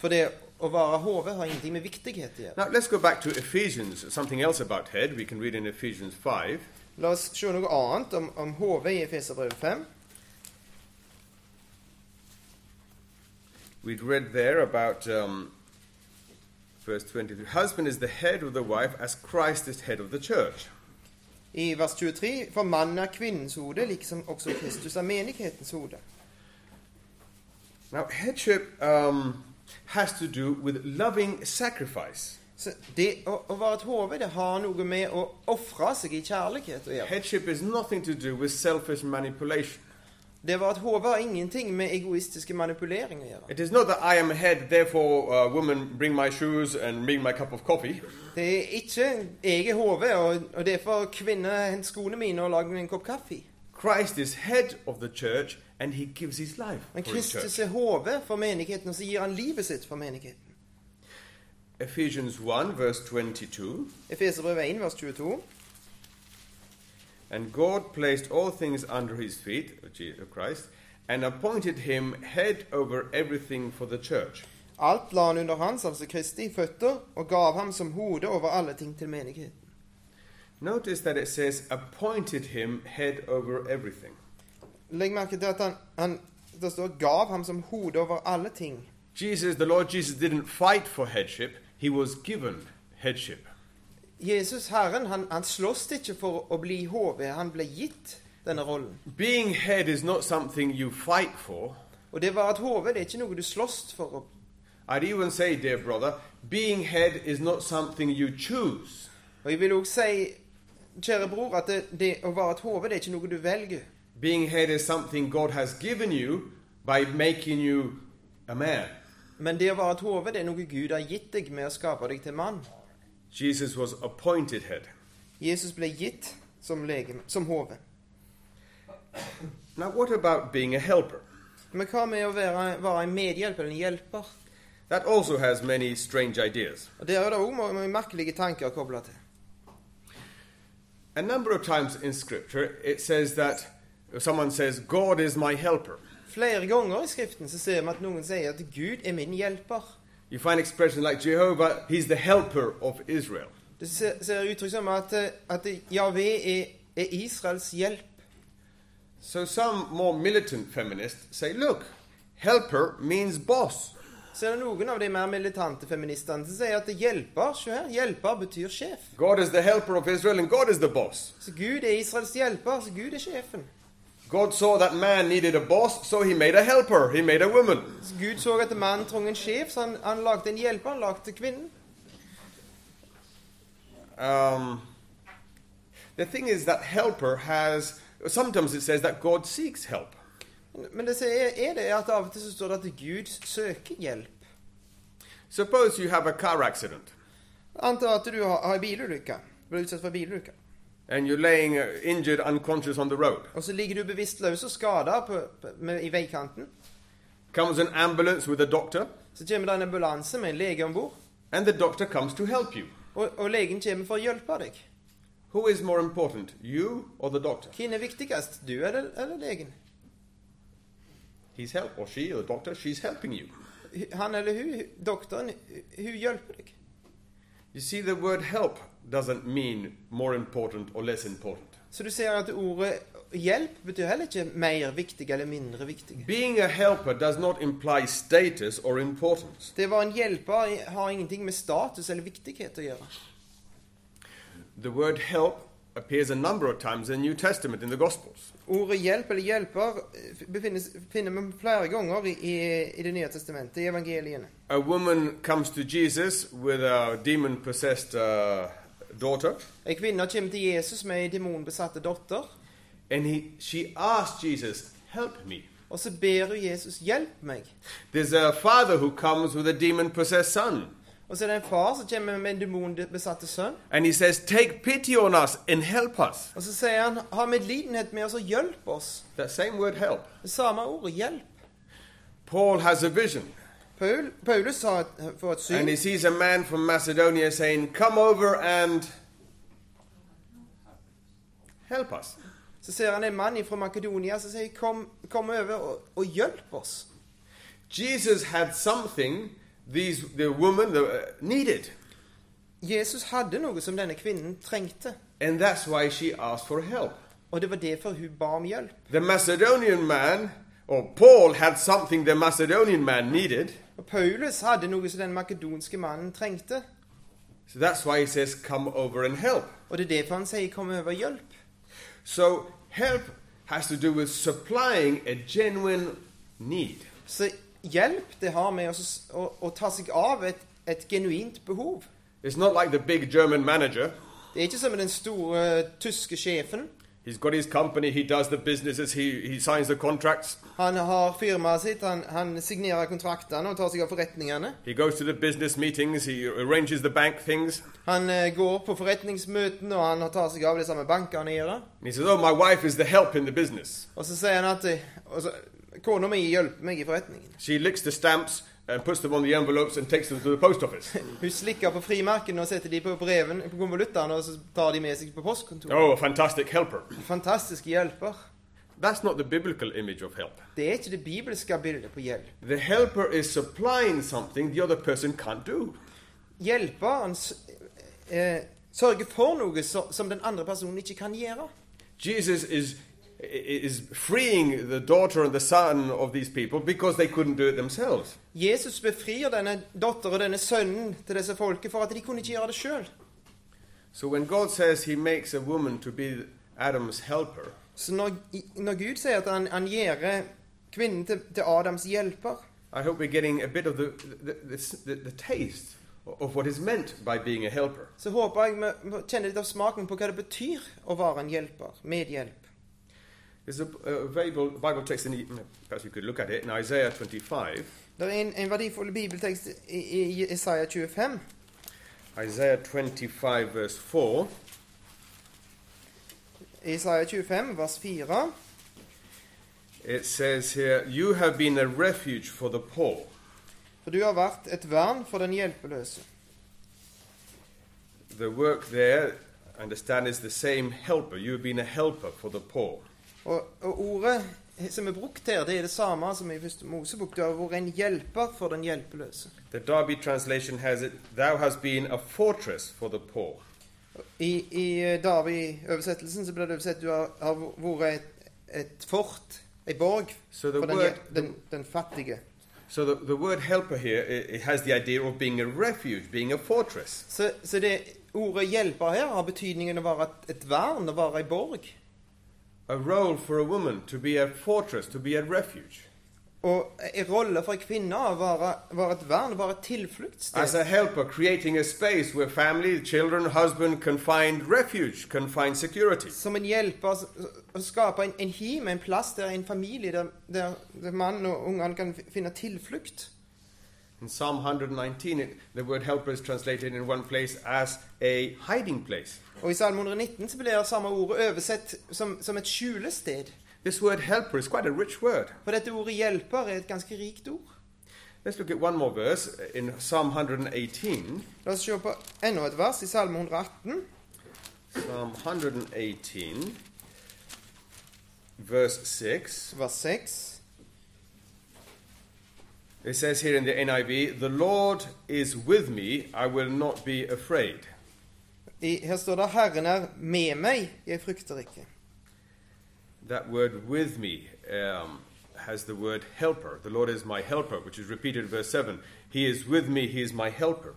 Speaker 1: For det å være hode har ingenting med viktighet å gjøre.
Speaker 2: Now, let's go back to Ephesians, something else about head. We can read in Ephesians 5.
Speaker 1: La oss se noe annet om, om hode i Efeserbrevet 5.
Speaker 2: We'd read there about um, verse 23 Husband is the head of the wife as Christ is head of the church.
Speaker 1: I vers 23 For mannen er kvinnens hode, liksom også Kristus er menighetens hode.
Speaker 2: Now, headship um, has to do with loving sacrifice.
Speaker 1: Så det å, å være et hode, det har noe med å ofre seg i kjærlighet å gjøre.
Speaker 2: Headship is nothing to do with selfish manipulation.
Speaker 1: Det å være et hode har ingenting med egoistiske manipulering å gjøre.
Speaker 2: It is not that I am head, therefore, uh, woman, bring my shoes and bring my cup of coffee.
Speaker 1: Det er ikke jeg er hode, og, og derfor kvinne hent skoene mine og lag meg en kopp kaffe.
Speaker 2: Christ is head of the church and he gives his life
Speaker 1: Men
Speaker 2: for his church.
Speaker 1: Kristus er hode for menigheten, og så gir han livet sitt for menigheten.
Speaker 2: Ephesians 1, verse 22.
Speaker 1: Efeserbrevet 1, vers 22.
Speaker 2: And God placed all things under his feet, Je- Christ, and appointed him head over everything for the church.
Speaker 1: Alt la han under hans, altså Kristi, føtter, og gav ham som hode over alle ting til menigheten.
Speaker 2: Notice that it says, appointed him head over everything.
Speaker 1: Legg merke til at han, han det står 'gav ham som hode over alle ting'.
Speaker 2: Jesus, the Lord Jesus, didn't fight for headship, he was given headship.
Speaker 1: Jesus Herren, han, han slåss ikke for å bli hode, han ble gitt denne rollen.
Speaker 2: Being head is not something you fight for.
Speaker 1: Og det var et hode, det er ikke noe du slåss for. å-
Speaker 2: I'd even say, dear brother, being head is not something you choose.
Speaker 1: Og jeg vil òg si, kjære bror, at det, det å være et hode, det er ikke noe du velger.
Speaker 2: Being head is something God has given you by making you a man.
Speaker 1: Men det å være et hode, det er noe Gud har gitt deg med å skape deg til mann.
Speaker 2: Jesus was appointed head.
Speaker 1: Jesus ble gitt som, legeme, som hode.
Speaker 2: Now, what about being a helper?
Speaker 1: Men hva med å være, være en medhjelper eller en hjelper?
Speaker 2: That also has many strange ideas.
Speaker 1: Og Der er det òg mange merkelige tanker kobla til.
Speaker 2: A number of times in Scripture, it says that someone says, God is my helper.
Speaker 1: Flere ganger i Skriften så ser vi at noen sier at Gud er min hjelper.
Speaker 2: You find expressions like Jehovah, he's the helper of Israel.
Speaker 1: Det ser, ser uttrykk som at, eh, at Javé er, er Israels hjelp.
Speaker 2: So some more militant feminists say, look, helper means boss.
Speaker 1: Så er det noen av de mer militante feministene som sier at hjelper se her, hjelper betyr sjef.
Speaker 2: God is the helper of Israel and God is the boss.
Speaker 1: Så Gud er Israels hjelper, så Gud er sjefen.
Speaker 2: God saw that man needed a boss, so he made a helper, he made a woman.
Speaker 1: Så Gud så at mannen trengte en sjef, så han, han lagde en hjelper, han lagde kvinnen.
Speaker 2: Um, the thing is that helper has, sometimes it says that God seeks help.
Speaker 1: Men det som er, er det er at av og til så står det at Gud søker hjelp.
Speaker 2: Suppose you have a car accident
Speaker 1: Anta at du har, har en bilulykke, blir utsatt for en bilulykke.
Speaker 2: and you're laying uh, injured, unconscious on the road.
Speaker 1: Og så ligger du bevisstløs og skada på, på, med, i veikanten.
Speaker 2: Comes an ambulance with a doctor,
Speaker 1: Så kommer det en ambulanse med en lege om bord,
Speaker 2: and the doctor comes to help you.
Speaker 1: og, og legen kommer for å hjelpe deg.
Speaker 2: Who is more important, you or the doctor?
Speaker 1: Hvem er viktigst, du eller, eller legen?
Speaker 2: He's help or she or the doctor, she's helping you.
Speaker 1: Han eller hun, doktoren, hun hjelper deg.
Speaker 2: You see, the word help doesn't mean more important or less important.
Speaker 1: Så du ser at ordet hjelp betyr heller ikke mer viktig eller mindre viktig.
Speaker 2: Being a helper does not imply status or importance.
Speaker 1: Det var en hjelper har ingenting med status eller viktighet å gjøre.
Speaker 2: The word help appears a number of times in the New Testament in the Gospels.
Speaker 1: Ordet hjelp eller hjelper eh, befinnes, finner man flere ganger i, i, i Det nye testamentet, i evangeliene.
Speaker 2: A woman comes to Jesus with a demon possessed uh, daughter,
Speaker 1: En kvinne kommer til Jesus med en demonbesatte datter,
Speaker 2: and he, she asks Jesus, Help me.
Speaker 1: og så ber hun Jesus 'hjelp meg'.
Speaker 2: There's a father who comes with a demon possessed son,
Speaker 1: Og så er det en far som kommer med en demonbesatte sønn,
Speaker 2: and he says, Take pity on us and help us.
Speaker 1: og så sier han 'ha medlidenhet med oss og hjelp oss'.
Speaker 2: That same word, help.
Speaker 1: Det samme ordet 'hjelp'.
Speaker 2: Paul has a vision,
Speaker 1: Paul, Paulus har et, får et
Speaker 2: and
Speaker 1: syn.
Speaker 2: he sees a man from Macedonia saying, Come over and help us.
Speaker 1: Så ser han en mann fra Makedonia som sier 'kom, kom over og, og hjelp oss'.
Speaker 2: Jesus had something these the woman the, uh, needed,
Speaker 1: Jesus hadde noe som denne kvinnen trengte,
Speaker 2: and that's why she asked for help.
Speaker 1: og det var derfor hun ba om hjelp.
Speaker 2: The Macedonian man or Paul had something the Macedonian man needed,
Speaker 1: Og Paulus hadde noe som den makedonske mannen trengte,
Speaker 2: so that's why he says, "Come over and help."
Speaker 1: og det er derfor han sier 'kom over og hjelp'.
Speaker 2: So help has to do with supplying a genuine need.
Speaker 1: Så hjelp, det har med å, s- å, å ta seg av et, et genuint behov.
Speaker 2: It's not like the big German manager.
Speaker 1: Det er ikke som med den store tyske sjefen.
Speaker 2: He's got his company, he does the businesses, he, he signs the contracts,
Speaker 1: Han har firmaet sitt, han, han signerer kontraktene og tar seg av forretningene.
Speaker 2: he goes to the business meetings, he arranges the bank things.
Speaker 1: Han eh, går på forretningsmøtene, og han tar seg av det samme bankene gjør.
Speaker 2: And he says, Oh, my wife is the help in the business.
Speaker 1: Og så sier han at eh, altså, kona mi hjelper meg i forretningen.
Speaker 2: She licks the stamps and puts them on the envelopes and takes them to the post office.
Speaker 1: Hun slikker på frimerkene og setter de på breven på konvoluttene, og så tar de med seg på postkontoret.
Speaker 2: oh, a fantastic helper.
Speaker 1: Fantastiske hjelper.
Speaker 2: That's not the biblical image of help.
Speaker 1: Det er ikke det bibelske bildet på hjelp.
Speaker 2: The helper is supplying something the other person can't do.
Speaker 1: Hjelperen s- eh, sørger for noe så, som den andre personen ikke kan gjøre.
Speaker 2: Jesus is is freeing the daughter and the son of these people because they couldn't do it themselves.
Speaker 1: Jesus befrir denne datter og denne sønnen til disse folket for at de kunne ikke gjøre det sjøl.
Speaker 2: So when God says he makes a woman to be Adam's helper,
Speaker 1: Så når, når Gud sier at han, han gjør kvinnen til, til Adams hjelper,
Speaker 2: I hope we're getting a bit of the the, the, the, the taste of what is meant by being a helper.
Speaker 1: så håper jeg vi vi kjenner litt av smaken på hva det betyr å være en hjelper, medhjelp.
Speaker 2: There's a, a Bible, Bible text, in, perhaps you could look at it, in Isaiah 25.
Speaker 1: Det er en, en verdifull bibeltekst i, i Isaiah 25.
Speaker 2: Isaiah 25, verse 4.
Speaker 1: Isaiah 25, vers 4.
Speaker 2: It says here, You have been a refuge for the poor,
Speaker 1: For du har vært et vern for den hjelpeløse.
Speaker 2: The work there, I understand, is the same helper. You have been a helper for the poor.
Speaker 1: Og, og ordet som er brukt her, det er det samme som i første Mosebok. Det har vært en hjelper for den hjelpeløse.
Speaker 2: The Derby translation has it, Thou hast been a fortress for the poor.
Speaker 1: I, i eh, Davi-oversettelsen så blir det oversett du har, har vært et, et fort, ei borg,
Speaker 2: So the
Speaker 1: for den,
Speaker 2: word,
Speaker 1: hjel- den, den fattige.
Speaker 2: so the, the word helper here, it, it has the idea of being a refuge, being a fortress.
Speaker 1: Så, så det ordet 'hjelper' her har betydningen å være et, et vern, å være ei borg.
Speaker 2: A role for a woman to be a fortress, to be a refuge.
Speaker 1: Og en rolle for ei kvinne å være, være et vern, være et
Speaker 2: As
Speaker 1: tilfluktssted.
Speaker 2: a helper, creating a space where family, children, husband can find refuge, can find security.
Speaker 1: Som en hjelper s- å skape en, en him, en plass der en familie, der, der, der mannen og ungene kan fi- finne tilflukt.
Speaker 2: In Psalm 119, it, the word helper is translated in one place as a hiding place.
Speaker 1: Og i Salme 119 så blir det samme ordet oversett som, som et skjulested.
Speaker 2: This word helper is quite a rich word.
Speaker 1: For dette ordet 'hjelper' er et ganske rikt ord.
Speaker 2: Let's look at one more verse in Psalm 118.
Speaker 1: La oss se på enda et vers i Salme 118.
Speaker 2: Psalm 118, verse 6.
Speaker 1: vers 6.
Speaker 2: It says here in the NIV, The Lord is with me, I will not be afraid.
Speaker 1: I, her står det 'Herren er med meg, jeg frykter ikke'.
Speaker 2: That word with me um, has the word helper. The Lord is my helper, which is repeated in verse 7. He is with me, He is my helper.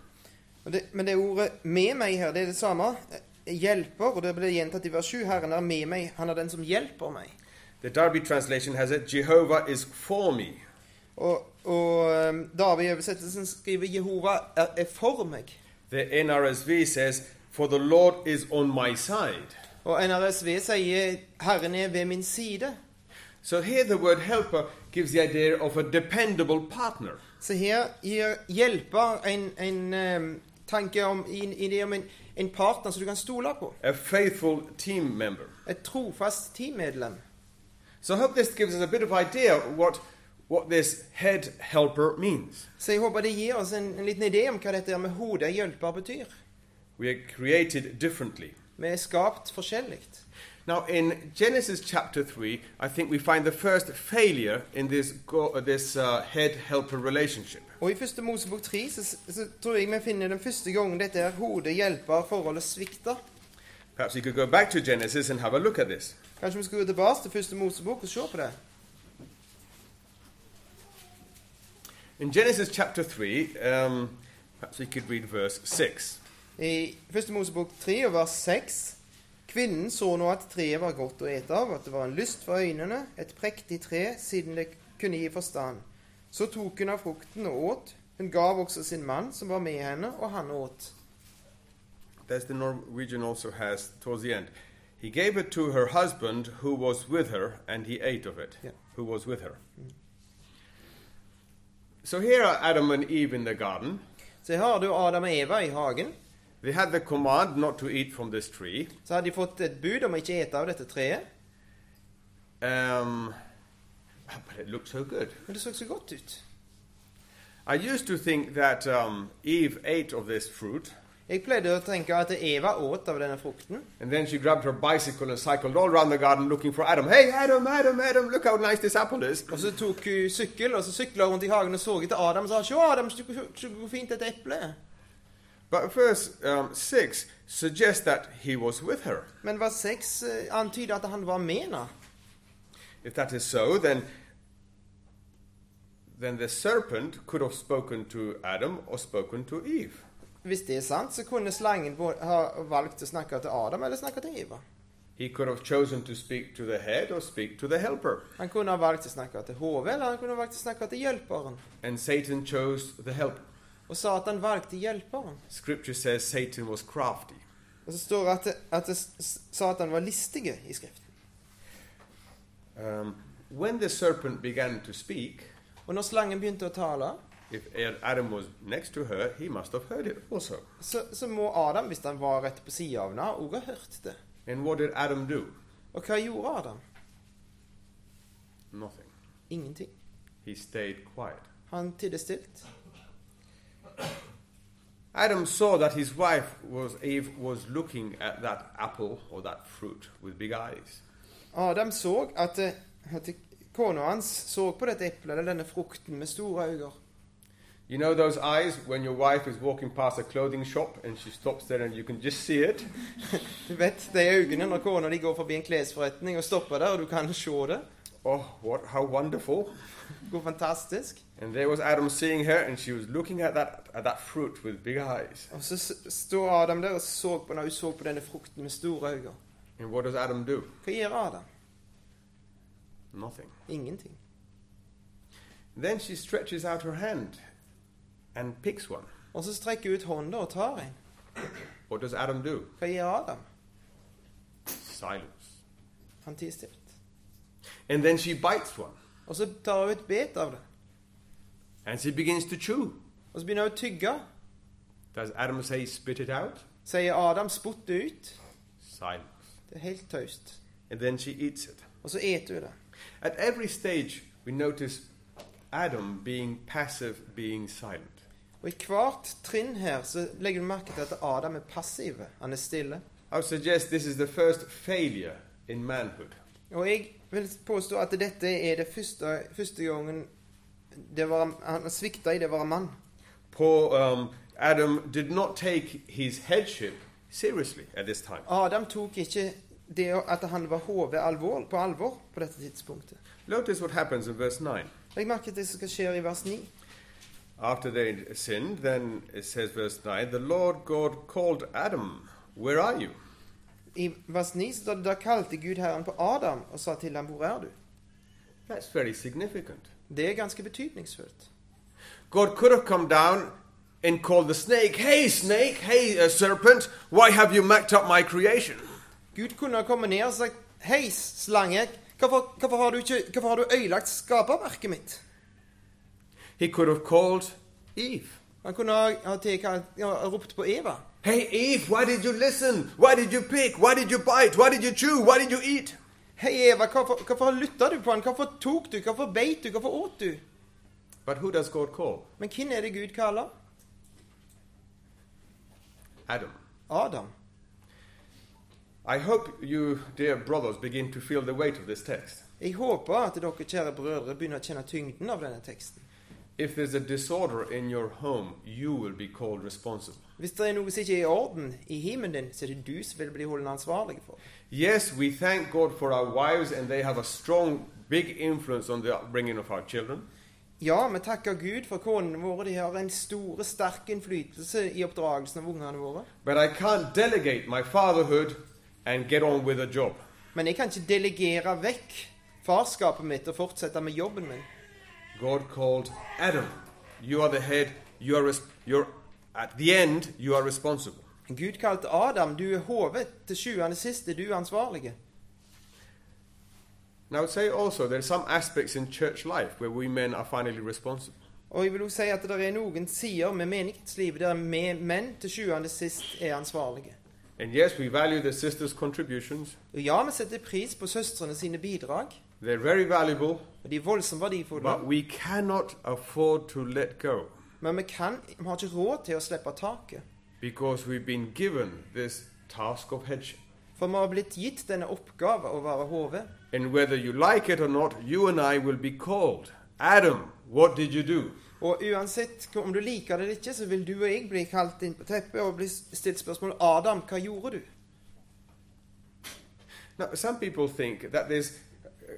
Speaker 1: Og det, men det ordet 'med meg' her, det er det samme. Eh, Hjelper, og det ble gjentatt i vers 7. Herren er med meg, han er den som hjelper meg.
Speaker 2: The Derby translation has it, Jehovah is for me.
Speaker 1: Og, og eh, David i oversettelsen skriver 'Jehova er, er for meg'.
Speaker 2: The NRSV says, For the Lord is on my side.
Speaker 1: Og NRSV sier 'Herren er ved min side'.
Speaker 2: So here the word helper gives the idea of a dependable partner.
Speaker 1: Så her gir hjelper en, en eh, tanke om, i, i det om en, en partner som du kan stole på.
Speaker 2: a faithful team member.
Speaker 1: Et trofast teammedlem.
Speaker 2: So I hope this gives us a bit of idea what what this head helper means.
Speaker 1: Så jeg håper det gir oss en, en liten idé om hva dette med hodet hjelper betyr.
Speaker 2: We are created differently.
Speaker 1: Vi er skapt forskjellig.
Speaker 2: Now in Genesis chapter 3, I think we find the first failure in this go, uh, this uh, head helper relationship.
Speaker 1: Og i første Mosebok 3 så, så tror jeg vi finner den første gangen dette her hodet hjelper forholdet svikter.
Speaker 2: Perhaps you could go back to Genesis and have a look at this.
Speaker 1: Kanskje vi skal gå tilbake til første Mosebok og se på det.
Speaker 2: In Genesis chapter 3, um, perhaps we could read verse 6.
Speaker 1: I første Mosebok 3 og vers 6 Kvinnen så nå at treet var godt å ete av, at det var en lyst for øynene, et prektig tre, siden det kunne gi forstand. Så tok hun av frukten og åt. Hun gav også sin mann, som var med henne, og han åt.
Speaker 2: That's the Norwegian also has towards the end. He gave it to her husband who was with her, and he ate of it.
Speaker 1: Yeah.
Speaker 2: Who was with her. So here are Adam and Eve in the garden.
Speaker 1: Så her har du Adam og Eva i hagen.
Speaker 2: They had the command not to eat from this tree.
Speaker 1: Så hadde de fått et bud om å ikke ete av dette treet.
Speaker 2: Um, but it looked so good.
Speaker 1: Men det så så godt ut.
Speaker 2: I used to think that um, Eve ate of this fruit,
Speaker 1: Jeg pleide å tenke at Eva åt av denne frukten.
Speaker 2: and then she grabbed her bicycle and cycled all around the garden looking for Adam. Hey, Adam, Adam, Adam, look how nice this apple is.
Speaker 1: Og så tok hun sykkel, og så sykla hun rundt i hagen og så etter Adam og sa 'Sjå, Adam, se hvor- se hvor fint dette eplet er'.
Speaker 2: But verse um, 6 suggests that he was with her.
Speaker 1: Men vers 6 antyder at han var med henne.
Speaker 2: If that is so, then then the serpent could have spoken to Adam or spoken to Eve.
Speaker 1: Hvis det er sant, så kunne slangen både ha valgt å snakke til Adam eller snakke til Eva.
Speaker 2: He could have chosen to speak to the head or speak to the helper.
Speaker 1: Han kunne ha valgt å snakke til hodet, eller han kunne ha valgt å snakke til hjelperen.
Speaker 2: And Satan chose the helper.
Speaker 1: Og Satan valgte hjelperen.
Speaker 2: Scripture says Satan was crafty.
Speaker 1: Og så står det at, at Satan var listige i Skriften.
Speaker 2: Um, when the serpent began to speak,
Speaker 1: Og når slangen begynte å tale,
Speaker 2: if Adam was next to her, he must have heard it also.
Speaker 1: så, så må Adam, hvis han var rett på sida av henne, også ha hørt det.
Speaker 2: And what did Adam do?
Speaker 1: Og hva gjorde Adam?
Speaker 2: Nothing.
Speaker 1: Ingenting.
Speaker 2: He stayed quiet.
Speaker 1: Han tidde stilt.
Speaker 2: Adam saw that his wife was Eve was looking at that apple or that fruit with big eyes.
Speaker 1: Adam så at, eh, at Kona hans så på dette eplet eller denne frukten med store øyne.
Speaker 2: You know those eyes when your wife is walking past a clothing shop and she stops there and you can just see it?
Speaker 1: Du vet de øynene når kona di går forbi en klesforretning og stopper der, og du kan se det.
Speaker 2: Oh, what, how wonderful.
Speaker 1: Går fantastisk.
Speaker 2: And there was Adam seeing her and she was looking at that, at that fruit with big eyes.
Speaker 1: Og så s- står Adam der og så på, når hun så på denne frukten med store øyne.
Speaker 2: And what does Adam do?
Speaker 1: Hva gjør Adam?
Speaker 2: Nothing.
Speaker 1: Ingenting.
Speaker 2: Then she stretches out her hand and picks one.
Speaker 1: Og så strekker hun ut hånda og tar en.
Speaker 2: What does Adam do?
Speaker 1: Hva gjør Adam?
Speaker 2: Silence.
Speaker 1: Han tier stilt.
Speaker 2: And then she bites one
Speaker 1: Og så tar hun et bet av det.
Speaker 2: and she begins to chew.
Speaker 1: Og så begynner hun å tygge.
Speaker 2: Does Adam say, spit it out?
Speaker 1: Sier Adam 'spytt det ut'.
Speaker 2: Silence.
Speaker 1: Det er helt taust.
Speaker 2: And then she eats it.
Speaker 1: Og så eter hun det.
Speaker 2: At every stage, we notice Adam being passive, being silent.
Speaker 1: Og i hvert trinn her så legger du merke til at Adam er passiv. Han er stille.
Speaker 2: I would suggest this is the first failure in manhood.
Speaker 1: Og jeg vil påstå at dette er det første, første gangen det var, han svikta i det å være mann.
Speaker 2: Poor um, Adam did not take his headship seriously at this time.
Speaker 1: Adam tok ikke det at han var hodet alvor, på alvor på dette tidspunktet.
Speaker 2: Notice what happens in verse 9.
Speaker 1: Legg merke til det som skjer i vers 9.
Speaker 2: After they sinned, then it says, verse 9, the Lord God called Adam, Where are you?
Speaker 1: I vers 9 så står det da kalte Gud Herren på Adam og sa til ham, hvor er du?
Speaker 2: That's very significant.
Speaker 1: Det er ganske betydningsfullt.
Speaker 2: God could have come down and called the snake, Hey, snake, hey, uh, serpent, why have you mucked up my creation?
Speaker 1: Gud kunne ha kommet ned og sagt, hei, slange, hvorfor, hvorfor, har, du ikke, hvorfor har du øyelagt skaperverket mitt?
Speaker 2: He could have called Eve.
Speaker 1: Han kunne ha, ha, tilkalt- ja, ropt på Eva.
Speaker 2: Hey, Eve, why did you listen? Why did you pick? Why did you bite? Why did you chew? Why did you eat?
Speaker 1: Hei, Eva, hvorfor, hvorfor lytta du på han? Hvorfor tok du? Hvorfor beit du? Hvorfor åt du?
Speaker 2: But who does God call?
Speaker 1: Men hvem er det Gud kaller?
Speaker 2: Adam.
Speaker 1: Adam.
Speaker 2: I hope you, dear brothers, begin to feel the weight of this text.
Speaker 1: Jeg håper at dere, kjære brødre, begynner å kjenne tyngden av denne teksten.
Speaker 2: If there's a disorder in your home, you will be called responsible.
Speaker 1: Hvis det er noe som ikke er i orden i himmelen din, så er det du som vil bli holdt ansvarlig for. det.
Speaker 2: Yes, we thank God for our wives, and they have a strong, big influence on the upbringing of our children.
Speaker 1: Ja, vi takker Gud for konene våre. De har en stor, sterk innflytelse i oppdragelsen av ungene våre.
Speaker 2: But I can't delegate my fatherhood and get on with a job.
Speaker 1: Men jeg kan ikke delegere vekk farskapet mitt og fortsette med jobben min.
Speaker 2: God called Adam. You are the head. You are res- you're at the end. You are responsible.
Speaker 1: Gud kalte Adam. Du er hodet. Til sjuende sist er du ansvarlig.
Speaker 2: And I would say also there are some aspects in church life where we men are finally responsible.
Speaker 1: Og jeg vil også si at det er noen sider med menighetslivet der vi menn til sjuende sist er ansvarlige.
Speaker 2: And yes, we value the sisters' contributions.
Speaker 1: Og ja, vi setter pris på søstrene sine bidrag,
Speaker 2: They're very valuable,
Speaker 1: og de er voldsomt verdifulle,
Speaker 2: but we cannot afford to let go
Speaker 1: men vi, kan, vi har ikke råd til å slippe taket.
Speaker 2: because we've been given this task of headship.
Speaker 1: For vi har blitt gitt denne oppgave å være hodet.
Speaker 2: And whether you like it or not, you and I will be called. Adam, what did you do?
Speaker 1: Og uansett om du liker det eller ikke, så vil du og jeg bli kalt inn på teppet og bli stilt spørsmål Adam, hva gjorde du?
Speaker 2: Now, some people think that this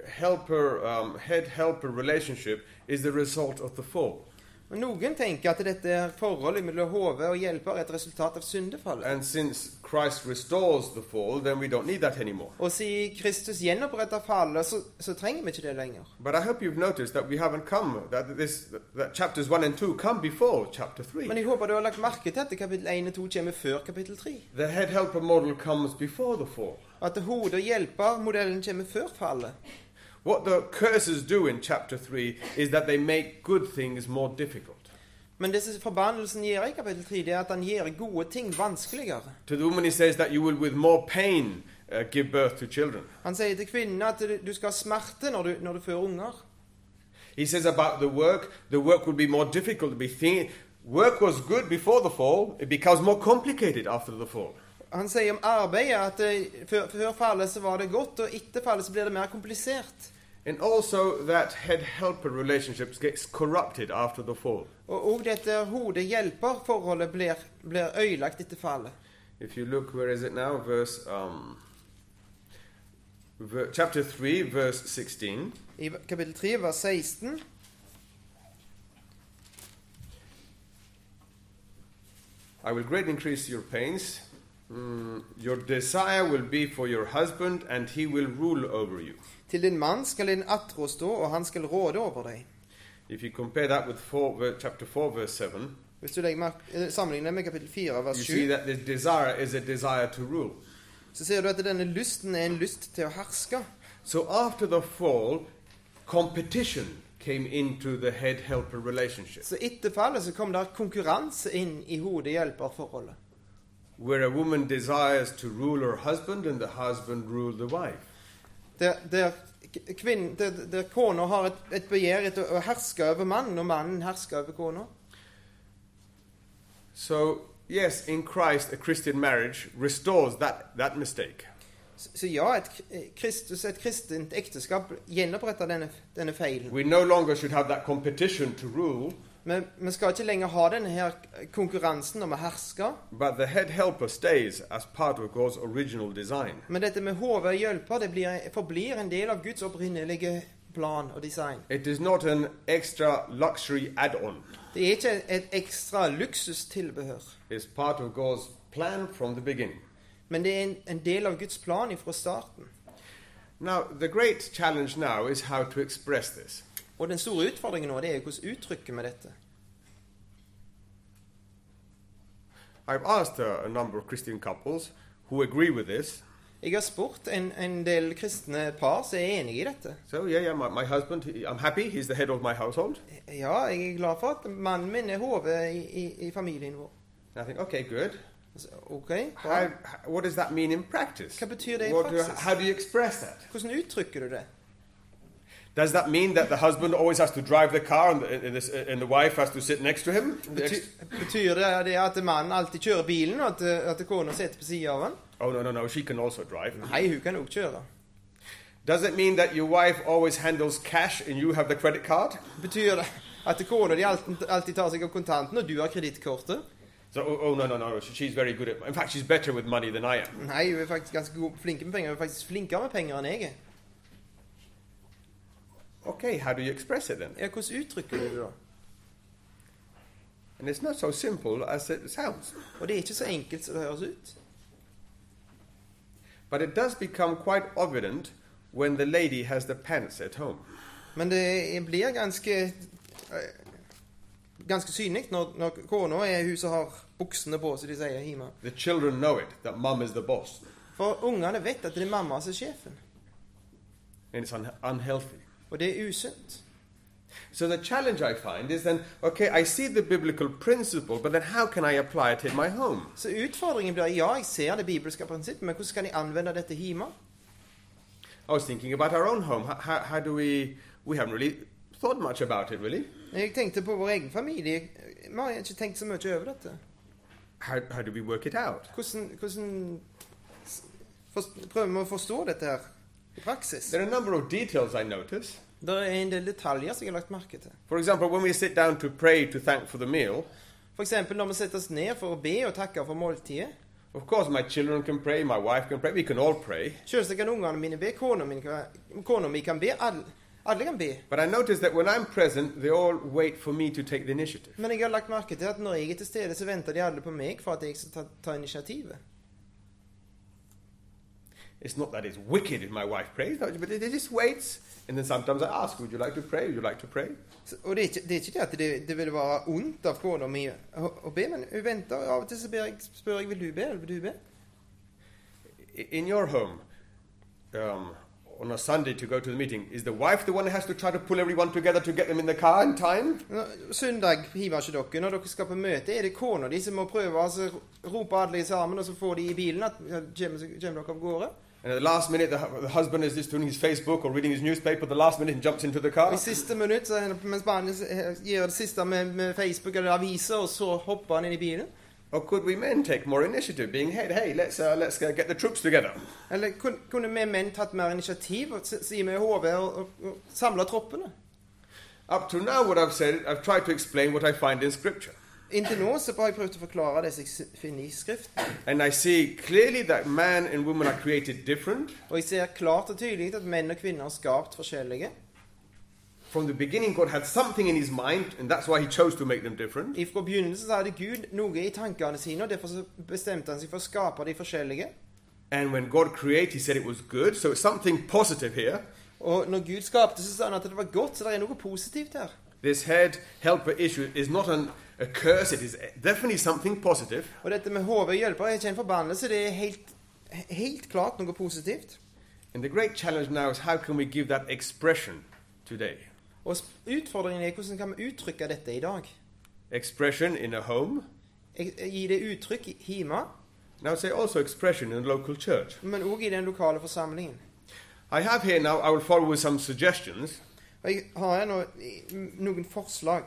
Speaker 2: helper, um, head helper relationship is the result of the fall.
Speaker 1: Men noen tenker at dette er forholdet mellom hodet og hjelper er et resultat av syndefallet.
Speaker 2: And since Christ restores the fall, then we don't need that anymore.
Speaker 1: Og siden Kristus gjenoppretter fallet, så, så trenger vi ikke det lenger.
Speaker 2: But I hope you've noticed that we haven't come, that, this, that chapters 1 and 2 come before chapter 3.
Speaker 1: Men jeg håper du har lagt merke til at kapittel 1 og 2 kommer før kapittel 3.
Speaker 2: The head helper model comes before the fall.
Speaker 1: At hodet og hjelpermodellen kommer før fallet.
Speaker 2: What the curses do in chapter 3 is that they make good things more difficult.
Speaker 1: Men det som forbannelsen gjør i kapittel 3, det er at han gjør gode ting vanskeligere.
Speaker 2: To the woman, he says that you will with more pain uh, give birth to children.
Speaker 1: Han sier til kvinnen at du- du skal ha smerte når du, når du fører unger.
Speaker 2: He says about the work, the work will be more difficult to be thin. Work was good before the fall, it becomes more complicated after the fall.
Speaker 1: Han sier om arbeidet at eh, før, før fallet så var det godt, og etter fallet så blir det mer komplisert.
Speaker 2: And also that head helper relationships gets corrupted after the fall.
Speaker 1: Og òg dette hode-hjelper-forholdet blir, blir ødelagt etter fallet.
Speaker 2: If you look, where is it now? Verse, um, ver- chapter 3, verse 16.
Speaker 1: I kapittel 3, vers 16,
Speaker 2: I will greatly increase your pains. Mm, your desire will be for your husband, and he will rule over you.
Speaker 1: til din mann skal din attrå stå, og han skal råde over deg.
Speaker 2: If you compare that with four, ver- chapter 4, verse 7,
Speaker 1: Hvis du legger merke- eh, sammenligner med kapittel 4, vers
Speaker 2: you see
Speaker 1: 7,
Speaker 2: that the desire is a desire to rule.
Speaker 1: så ser du at denne lysten er en lyst til å herske.
Speaker 2: So after the fall, competition came into the head helper relationship,
Speaker 1: Så etter fallet så kom der konkurranse inn i hode-hjelper-forholdet.
Speaker 2: where a woman desires to rule her husband and the husband rule the wife.
Speaker 1: Der, der, k- kvinn- der, der kona har et, et begjær etter å herske over mannen, og mannen hersker over kona.
Speaker 2: So, yes, in Christ, a Christian marriage restores that, that mistake.
Speaker 1: Så, så ja, et, k- eh, Kristus, et kristent ekteskap gjenoppretter denne, denne feilen.
Speaker 2: We no longer should have that competition to rule,
Speaker 1: Men vi skal ikke lenger ha denne her konkurransen om å herske.
Speaker 2: but the head helper stays as part of God's original design.
Speaker 1: Men dette med hodet og hjelper, det blir, forblir en del av Guds opprinnelige plan og design.
Speaker 2: It is not an extra luxury add on,
Speaker 1: Det er ikke et ekstra luksustilbehør,
Speaker 2: it's part of God's plan from the beginning.
Speaker 1: men det er en, en del av Guds plan fra starten.
Speaker 2: Now, the great challenge now is how to express this.
Speaker 1: Og den store utfordringen nå, det er jo hvordan uttrykker vi dette.
Speaker 2: I've asked uh, a number of Christian couples who agree with this.
Speaker 1: Jeg har spurt en, en del kristne par som er enige i dette.
Speaker 2: So, yeah, yeah, my, my husband, he, I'm happy, he's the head of my household.
Speaker 1: Ja, jeg er glad for at mannen min er hodet i, i, i familien vår.
Speaker 2: And I think, okay, good.
Speaker 1: Altså, OK, bra.
Speaker 2: How, h- what does that mean in practice?
Speaker 1: Hva betyr det i
Speaker 2: What do-
Speaker 1: praksis?
Speaker 2: how do you express that?
Speaker 1: Hvordan uttrykker du det?
Speaker 2: Does that mean that the husband always has to drive the car and the, and the, and the wife has to sit next to him? The
Speaker 1: Bety,
Speaker 2: ex-
Speaker 1: betyr det det at mannen alltid kjører bilen, og at, at kona sitter på siden av han?
Speaker 2: oh, no, no, no, she can also drive.
Speaker 1: Nei, hun kan òg kjøre.
Speaker 2: Does it mean that your wife always handles cash and you have the credit card?
Speaker 1: Betyr det at kona di alltid, alltid tar seg av kontanten, og du har kredittkortet?
Speaker 2: So, oh, oh, no, no, no, she- she's very good at. In fact, she's better with money than I am.
Speaker 1: Nei, hun er faktisk ganske god, flink med penger. Hun er faktisk flinkere med penger enn jeg er.
Speaker 2: Okay, how do you express it then?
Speaker 1: Ja, hvordan uttrykker du det da?
Speaker 2: And it's not so simple as it sounds,
Speaker 1: Og det er ikke så enkelt som det høres ut.
Speaker 2: but it does become quite evident when the lady has the pants at home.
Speaker 1: Men det blir ganske eh, Ganske synlig når, når kona er hun som har buksene på, som de sier hjemme.
Speaker 2: The children know it that mum is the boss,
Speaker 1: For ungene vet at det er mamma som er sjefen.
Speaker 2: and it's un- unhealthy.
Speaker 1: Og det er usunt.
Speaker 2: So the challenge I find is then, okay, I see the biblical principle, but then how can I apply it in my home?
Speaker 1: Så utfordringen blir ja, jeg ser det bibelske prinsippet, men hvordan kan jeg anvende dette hjemme?
Speaker 2: I was thinking about our own home. How, how, how do we? We haven't really thought much about it, really.
Speaker 1: Jeg tenkte på vår egen familie. Vi har ikke tenkt så mye over dette.
Speaker 2: How, how do we work it out?
Speaker 1: Hvordan, hvordan s- forst- prøver vi å forstå dette her i praksis?
Speaker 2: There are a number of details I notice.
Speaker 1: Det er en del detaljer som jeg har lagt merke til.
Speaker 2: For example, when we sit down to pray to thank for the meal,
Speaker 1: F.eks. når vi setter oss ned for å be og takke for måltidet.
Speaker 2: of course my children can pray, my wife can pray, we can all pray.
Speaker 1: Selvsagt kan ungene mine be, kona mi kan, kona mi kan be, alle, alle kan be.
Speaker 2: But I notice that when I'm present, they all wait for me to take the initiative.
Speaker 1: Men jeg har lagt merke til at når jeg er til stede, så venter de alle på meg for at jeg skal ta, ta initiativet.
Speaker 2: It's not that it's wicked if my wife prays, but they they just waits. And then sometimes I ask, would you like to pray? Would you like to pray?
Speaker 1: Så, og det er, ikke, det er ikke det at det, det vil være ondt av kona mi å, å be, men hun venter. og Av og til så ber jeg, spør jeg vil du be, eller vil du be?
Speaker 2: I- In your home, um, on a Sunday to go to the meeting, is the wife the one who has to try to pull everyone together to get them in the car in time?
Speaker 1: Nå, Søndag hiver ikke dere. Når dere skal på møte, er det kona di som må prøve å altså, rope alle sammen, og så får de i bilen at ja, kommer, kommer dere av gårde?
Speaker 2: And at the last minute, the, hu- the husband is just doing his Facebook or reading his newspaper. The last minute, he jumps into the
Speaker 1: Og
Speaker 2: car.
Speaker 1: I siste minutt, så, er det- mens mannen s- eh, gjør det siste med, med Facebook eller aviser, og så hopper han inn i bilen.
Speaker 2: Or could we men take more initiative, being hey, hey, let's uh, let's uh, get the troops together?
Speaker 1: Eller kun- kunne vi menn tatt mer initiativ og s- si med HV og, og, og samla troppene?
Speaker 2: Up to now, what I've said, I've tried to explain what I find in Scripture,
Speaker 1: Inntil nå så har jeg prøvd å forklare det som jeg s- finner i Skriften.
Speaker 2: and I see clearly that man and woman are created different
Speaker 1: Og jeg ser klart og tydelig at menn og kvinner er skapt forskjellige.
Speaker 2: from the beginning. God had something in His mind, and that's why He chose to make them different.
Speaker 1: Ifra begynnelsen så hadde Gud noe i tankene sine, og derfor så bestemte han seg for å skape de forskjellige.
Speaker 2: And when God created, He said it was good, so it's something positive here.
Speaker 1: Og når Gud skapte, så sa han at det var godt, så det er noe positivt her.
Speaker 2: This head helper issue is not an, a curse, it is definitely something positive.
Speaker 1: Og dette med HV hjelper er ikke en forbannelse, det er helt, helt klart noe positivt.
Speaker 2: And the great challenge now is how can we give that expression today?
Speaker 1: Og sp- utfordringen er hvordan kan vi uttrykke dette i dag?
Speaker 2: Expression in a home.
Speaker 1: Jeg- jeg Gi det uttrykk i- hjemme,
Speaker 2: Now say also expression in a local church.
Speaker 1: men òg i den lokale forsamlingen.
Speaker 2: I have here now, I will follow with some suggestions.
Speaker 1: Og jeg har her nå i- noen forslag.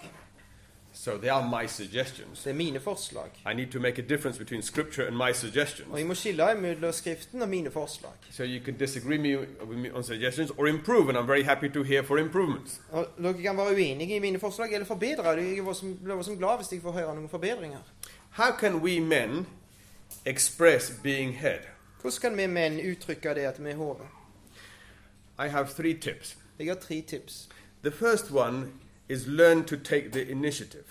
Speaker 2: So they are my suggestions.
Speaker 1: Det er mine forslag.
Speaker 2: I need to make a difference between scripture and my
Speaker 1: Og
Speaker 2: suggestions.
Speaker 1: jeg må skille mellom Skriften og mine forslag.
Speaker 2: So you can disagree me, with me on suggestions or improve, and I'm very happy to hear for improvements.
Speaker 1: Og dere kan være uenige i mine forslag, eller forbedre det. Jeg var som- blir som glad hvis jeg får høre noen forbedringer.
Speaker 2: How can we men express being head?
Speaker 1: Hvordan kan vi menn uttrykke det at vi er hodet?
Speaker 2: I have three tips.
Speaker 1: Jeg har tre tips.
Speaker 2: The first one is learn to take the initiative.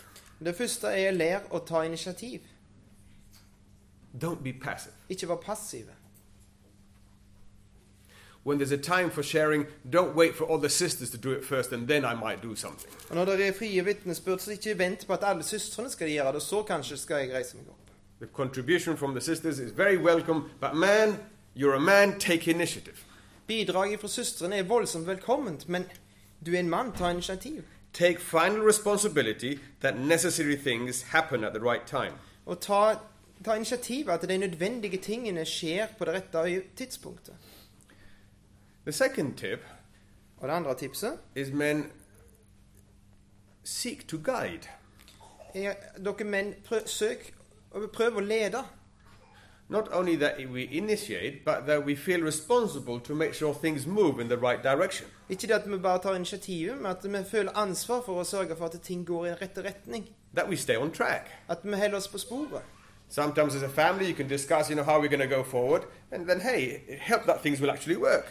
Speaker 1: Det første er lær å ta initiativ.
Speaker 2: Don't be passive.
Speaker 1: Ikke vær passive.
Speaker 2: When there's a time for sharing, don't wait for all the sisters to do it first and then I might do something.
Speaker 1: Og når dere er frie vitnesbyrd, så ikke vent på at alle søstrene skal gjøre det, og så kanskje skal jeg reise meg opp.
Speaker 2: The contribution from the sisters is very welcome, but man, you're a man, take initiative.
Speaker 1: Bidraget fra søstrene er voldsomt velkomment, men du er en mann, ta initiativ.
Speaker 2: Take final responsibility that necessary things happen at the right time.
Speaker 1: Og ta, ta initiativ at de nødvendige tingene skjer på det rette øye- tidspunktet.
Speaker 2: The second tip
Speaker 1: Og det andre tipset
Speaker 2: is men seek to guide.
Speaker 1: er dere menn prøv, søk og prøv å lede.
Speaker 2: Not only that we initiate, but that we feel responsible to make sure things move in the right direction.
Speaker 1: Ikke det at vi bare tar initiativet, men at vi føler ansvar for å sørge for at ting går i den rette retning.
Speaker 2: That we stay on track.
Speaker 1: At vi holder oss på sporet.
Speaker 2: Sometimes as a family you can discuss, you know, how we're going to go forward, and then hey, it helped that things will actually work.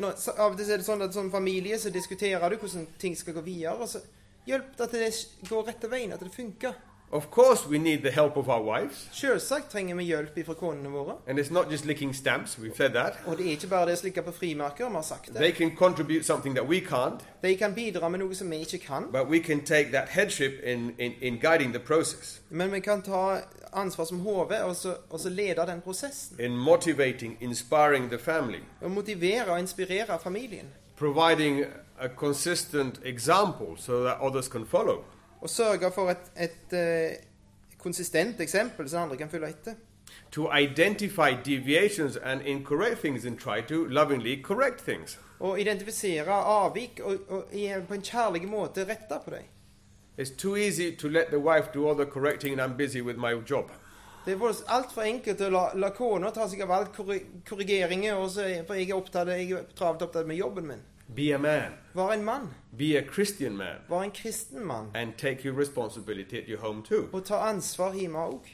Speaker 1: Nå, så, av og til så er det sånn at som familie så diskuterer du hvordan ting skal gå videre. og så Hjelp til at det går rette veien, at det funker.
Speaker 2: Of course, we need the help of our wives,
Speaker 1: Selvsagt trenger vi hjelp fra konene våre.
Speaker 2: and it's not just licking stamps. We've said that
Speaker 1: Og det er ikke bare det å slikke på frimerker, vi har sagt det.
Speaker 2: they can contribute something that we can't,
Speaker 1: De kan bidra med noe som vi ikke kan,
Speaker 2: but we can take that headship in in, in guiding the process,
Speaker 1: men vi kan ta ansvar som HV og så, og så lede den prosessen.
Speaker 2: in motivating, inspiring the family,
Speaker 1: Og motivere og inspirere familien.
Speaker 2: providing a consistent example so that others can follow.
Speaker 1: Og sørge for et, et eh, konsistent eksempel som andre kan følge etter.
Speaker 2: To identify deviations and incorrect things and try to lovingly correct things.
Speaker 1: Og identifisere avvik og, og i, på en kjærlig måte rette på dem.
Speaker 2: It's too easy to let the wife do all the correcting and I'm busy with my job.
Speaker 1: Det er altfor enkelt å la, la kona ta seg av alt korri- korrigeringer, og så er, for jeg er opptatt, jeg er travelt opptatt med jobben min.
Speaker 2: Be a man.
Speaker 1: Vær en mann.
Speaker 2: Be a Christian man.
Speaker 1: Vær en kristen mann.
Speaker 2: And take your responsibility at your home too.
Speaker 1: Og ta ansvar hjemme òg.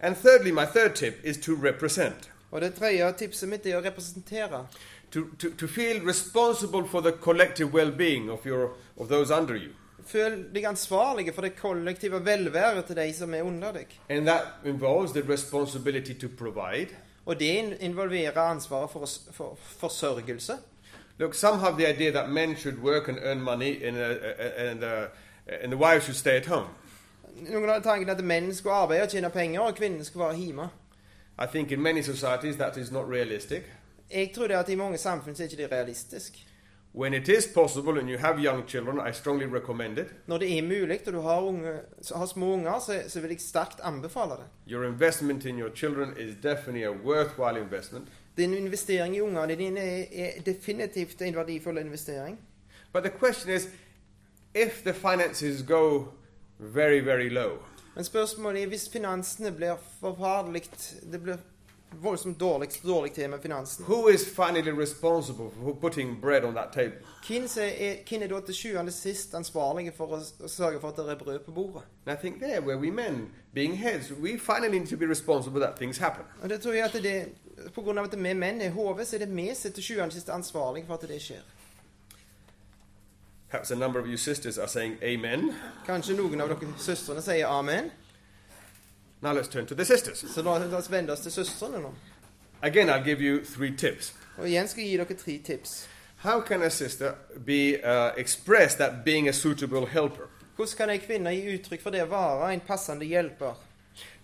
Speaker 2: And thirdly, my third tip is to represent.
Speaker 1: Og det tredje tipset mitt er å representere.
Speaker 2: To, to, to feel responsible for the collective well being of, your, of those under you.
Speaker 1: Føl deg ansvarlig for det kollektive velværet til de som er under deg.
Speaker 2: And that involves the responsibility to provide.
Speaker 1: Og det in- involverer ansvaret for, s- for forsørgelse.
Speaker 2: Look, some have the idea that men should work and earn money and, uh, uh, and, uh, and the wives should stay at home.
Speaker 1: Noen hadde tanken at menn skulle arbeide og tjene penger, og kvinnen skulle være hjemme.
Speaker 2: I think in many societies that is not realistic.
Speaker 1: Jeg tror det at i mange samfunn så er ikke det realistisk.
Speaker 2: When it is possible and you have young children, I strongly recommend it.
Speaker 1: Når det er mulig, og du har, unge, så har små unger, så, så vil jeg sterkt anbefale det.
Speaker 2: Your investment in your children is definitely a worthwhile investment.
Speaker 1: Din investering i ungene dine er, er definitivt en verdifull investering.
Speaker 2: But the question is if the finances go very, very low,
Speaker 1: Men spørsmålet er hvis finansene blir forferdelig Det blir voldsomt dårlig, dårlig til med finansene.
Speaker 2: Who is finally responsible for putting bread on that table?
Speaker 1: Hvem som er, hvem er da til sjuende og sist ansvarlige for å s- å sørge for at det er brød på bordet?
Speaker 2: And I think there, where we men, being heads, we finally need to be responsible that things happen.
Speaker 1: Og det tror jeg at det, På grunn av at vi menn er hodet, så er det vi som er til sjuende og sist ansvarlige for at det skjer.
Speaker 2: Perhaps a number of you sisters are saying amen.
Speaker 1: Kanskje noen av dere søstrene sier amen?
Speaker 2: Now let's turn to the sisters.
Speaker 1: Så la la oss vende oss til søstrene nå.
Speaker 2: Again, I'll give you three tips.
Speaker 1: Og igjen skal jeg gi dere tre tips.
Speaker 2: How can a sister be uh, express that being a suitable helper?
Speaker 1: Hvordan kan ei kvinne gi uttrykk for det å være en passende hjelper?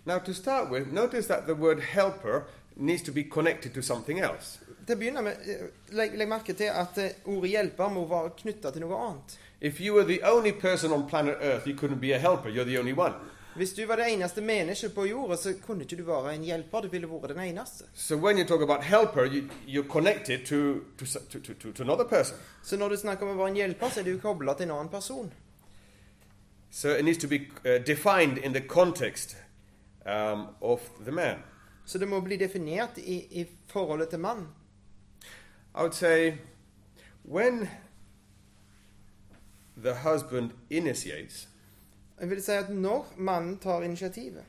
Speaker 2: Now, to start with, notice that the word helper needs to be connected to something else.
Speaker 1: Til å begynne med, eh, legg, legg merke til at eh, ordet 'hjelper' må være knytta til noe annet.
Speaker 2: If you were the only person on planet Earth, you couldn't be a helper. You're the only one.
Speaker 1: Hvis du var det eneste mennesket på jorda, så kunne ikke du være en hjelper. Du ville vært den eneste.
Speaker 2: So when you talk about helper, you, you're connected to, to, s- to, to, to, to another person.
Speaker 1: Så når du snakker om å være en hjelper, så er du kobla til en annen person.
Speaker 2: So it needs to be uh, defined in the context um, of the man.
Speaker 1: Så det må bli definert i, i forholdet til mann.
Speaker 2: I would say when the husband initiates,
Speaker 1: Jeg vil si at når mannen tar initiativet,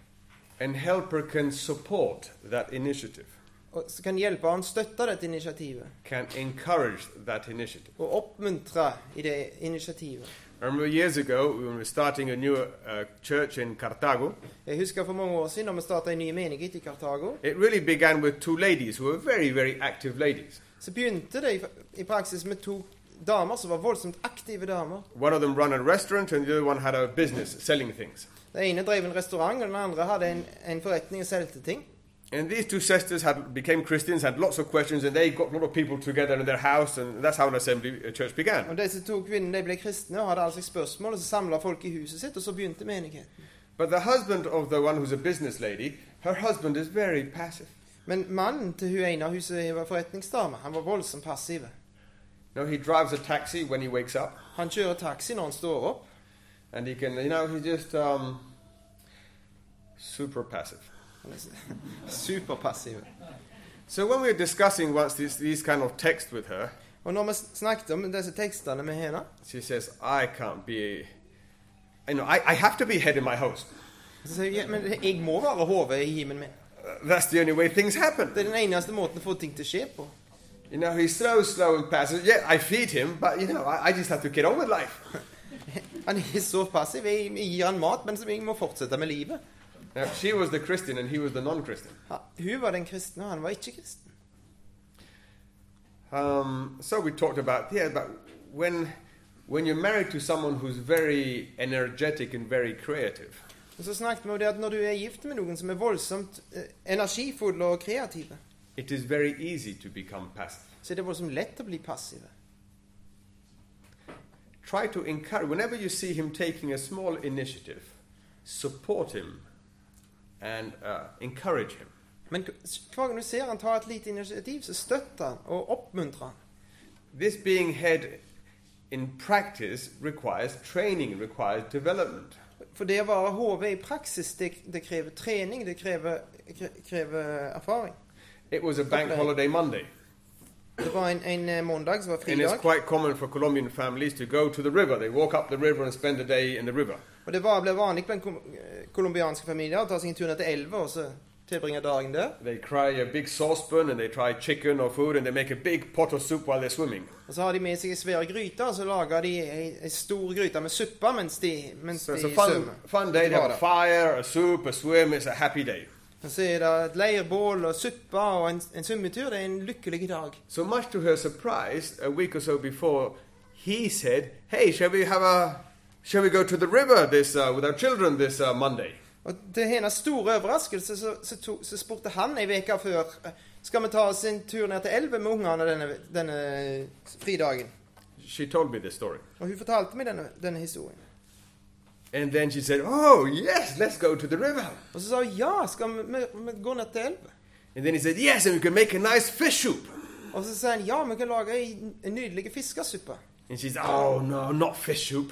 Speaker 2: and helper can support that initiative,
Speaker 1: og så kan hjelperen støtte dette initiativet
Speaker 2: can encourage that initiative.
Speaker 1: og oppmuntre i det initiativet.
Speaker 2: I remember years ago when we were starting a new uh, church in Cartago,
Speaker 1: Jeg husker for mange år siden da vi starta en ny menighet i Kartago,
Speaker 2: it really began with two ladies who were very, very active ladies.
Speaker 1: så begynte det i, i praksis med to damer som var voldsomt aktive damer.
Speaker 2: One of them ran a restaurant and the other one had a business selling things.
Speaker 1: Den ene drev en restaurant, og den andre hadde en, en forretning og solgte ting.
Speaker 2: And these two sisters had became Christians, had lots of questions, and they got a lot of people together in their house, and that's how an assembly a church began.
Speaker 1: Og Disse to kvinnene de ble kristne og hadde alle slags spørsmål, og så samla folk i huset sitt, og så begynte menigheten.
Speaker 2: But the husband of the one who's a business lady, her husband is very passive.
Speaker 1: Men mannen til hun ene av huset var forretningsdame. Han var voldsomt passiv.
Speaker 2: You know, he drives a taxi when he wakes up,
Speaker 1: Han kjører taxi når han står opp,
Speaker 2: and he can, you know, he's just um, super passive.
Speaker 1: Han er s- <laughs> Superpassiv.
Speaker 2: So when we were discussing once these, these kind of texts with her,
Speaker 1: Og når vi s- snakket om disse tekstene med henne,
Speaker 2: she says, "I can't be, you know, I, I have to be head in my house.
Speaker 1: så sier jeg, men jeg må være hodet i himmelen min.
Speaker 2: Uh, That's the only way things happen."
Speaker 1: Det er den eneste måten å få ting til å skje på.
Speaker 2: You know, he's so slow and passive. Yeah, I feed him, but you know, I, I just have to get on with life. <laughs>
Speaker 1: Han er så passiv. Jeg jeg gir han mat, men så jeg må fortsette med livet.
Speaker 2: Now, she was the Christian and he was the non Christian.
Speaker 1: Ha- Hun var den kristne, og han var ikke kristen.
Speaker 2: Um, so we talked about, yeah, but when, when you're married to someone who's very energetic and very creative,
Speaker 1: Og så snakket vi om det at når du er gift med noen som er voldsomt eh, energifulle og kreative,
Speaker 2: it is very easy to become passive.
Speaker 1: så er det voldsomt lett å bli passive.
Speaker 2: Try to encourage, whenever you see him taking a small initiative, support him and uh, encourage him.
Speaker 1: Men k- s- hver gang du ser han tar et lite initiativ, så støtter han og oppmuntrer han.
Speaker 2: This being head in practice requires training, requires development.
Speaker 1: For det å være HV i praksis, det, det krever trening, det krever, kre- krever erfaring.
Speaker 2: It was a bank
Speaker 1: Okay.
Speaker 2: holiday Monday,
Speaker 1: Det var en, en eh, måndag som var
Speaker 2: and it's
Speaker 1: fridag,
Speaker 2: quite common for Colombian families to go to the river. They walk up the river and spend a day in the river.
Speaker 1: og det var, ble vanlig blant kom- eh, colombianske familier å ta seg en tur ned til elva og så tilbringe dagen der.
Speaker 2: They cry a big saucepan and they try chicken or food and they make a big pot of soup while they're swimming.
Speaker 1: Og så har de med seg ei svær gryte, og så lager de ei, ei stor gryte med suppe mens de, mens
Speaker 2: So it's a
Speaker 1: de
Speaker 2: fun,
Speaker 1: svømmer.
Speaker 2: fun day. They have
Speaker 1: Bada.
Speaker 2: a fire, a soup, a swim. It's a happy day.
Speaker 1: Og så er det et leirbål og suppe og en, en svømmetur. Det er en lykkelig dag.
Speaker 2: So much to her surprise, a week or so before, he said, "Hey, shall we have a, shall we go to the river this uh, with our children this uh, Monday?"
Speaker 1: Og til hennes store overraskelse så, så, to, så spurte han ei uke før eh, skal vi ta oss en tur ned til elven med ungene denne, denne fridagen.
Speaker 2: She told me this story,
Speaker 1: Og hun fortalte meg denne, denne historien.
Speaker 2: and then she said, "Oh yes, let's go to the river."
Speaker 1: Og så sa hun ja, skal vi, vi, vi gå ned til elven?
Speaker 2: And then he said, Yes, and we can make a nice fish soup.
Speaker 1: Og så sa han ja, vi kan lage ei en nydelig fiskesuppe.
Speaker 2: And she said, Oh, no, not fish soup.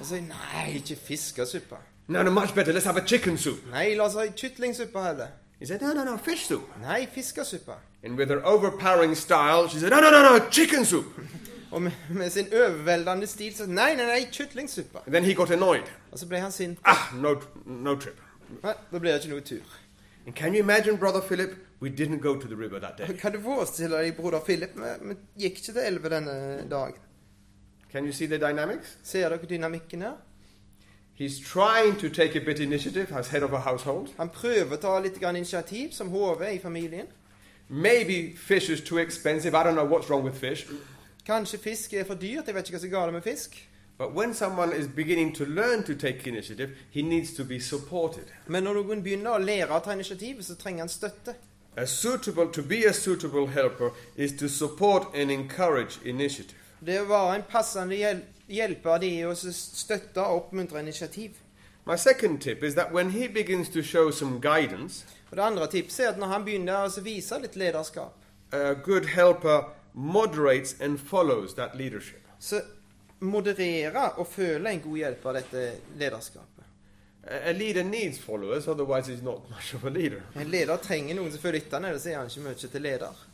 Speaker 1: Og så sa hun nei, ikke fiskesuppe.
Speaker 2: No, no, much better. Let's have a chicken soup.
Speaker 1: Nei, la oss ha kyttlingsuppe heller.
Speaker 2: He said, No, no, no, fish soup.
Speaker 1: Nei, fiskesuppe.
Speaker 2: And with her overpowering style, she said, No, no, no, no, chicken soup.
Speaker 1: Og med, med sin overveldende stil så Nei, nei, nei, kyttlingsuppe.
Speaker 2: And then he got annoyed.
Speaker 1: Og så ble han sint.
Speaker 2: Ah, no, no trip.
Speaker 1: Nei, da blir det ikke noe tur.
Speaker 2: And can you imagine, Brother Philip? We didn't go to the river that day.
Speaker 1: Kan du forestille deg, broder Philip, vi vi gikk ikke til elva denne dagen.
Speaker 2: Can you see the dynamics?
Speaker 1: Ser dere dynamikken her?
Speaker 2: He's trying to take a bit initiative as head of a household.
Speaker 1: Han prøver å ta litt grann initiativ som HV i familien.
Speaker 2: Maybe fish is too expensive. I don't know what's wrong with fish.
Speaker 1: Kanskje fisk er for dyrt, jeg vet ikke hva som er galt med fisk.
Speaker 2: But when someone is beginning to learn to take initiative, he needs to be supported.
Speaker 1: Men når noen begynner å lære å ta initiativ, så trenger han støtte.
Speaker 2: A suitable to be a suitable helper is to support and encourage initiative.
Speaker 1: Det å være en passende hjel hjelper, det er å s- støtte og oppmuntre initiativ.
Speaker 2: My second tip is that when he begins to show some guidance,
Speaker 1: Og Det andre tipset er at når han begynner å vise litt lederskap,
Speaker 2: a good helper moderates and follows that leadership.
Speaker 1: så moderere og føle en god hjelp av dette lederskapet.
Speaker 2: A a leader needs followers, otherwise, he's not <laughs> much of a leader.
Speaker 1: En leder trenger noen som følger etter ham, ellers er han ikke mye til leder.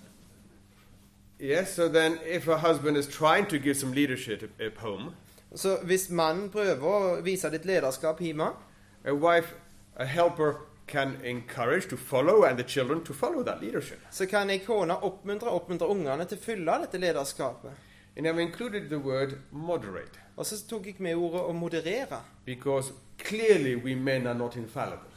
Speaker 2: Yes, so then if a husband is trying to give some leadership at home,
Speaker 1: Så hvis mannen prøver å vise litt lederskap hjemme,
Speaker 2: a wife, a helper, can encourage to follow and the children to follow that leadership.
Speaker 1: så kan ei kone oppmuntre, oppmuntre ungene til å fylle dette lederskapet.
Speaker 2: And I've included the word moderate
Speaker 1: Og så tok jeg med ordet å moderere.
Speaker 2: because clearly we men are not infallible.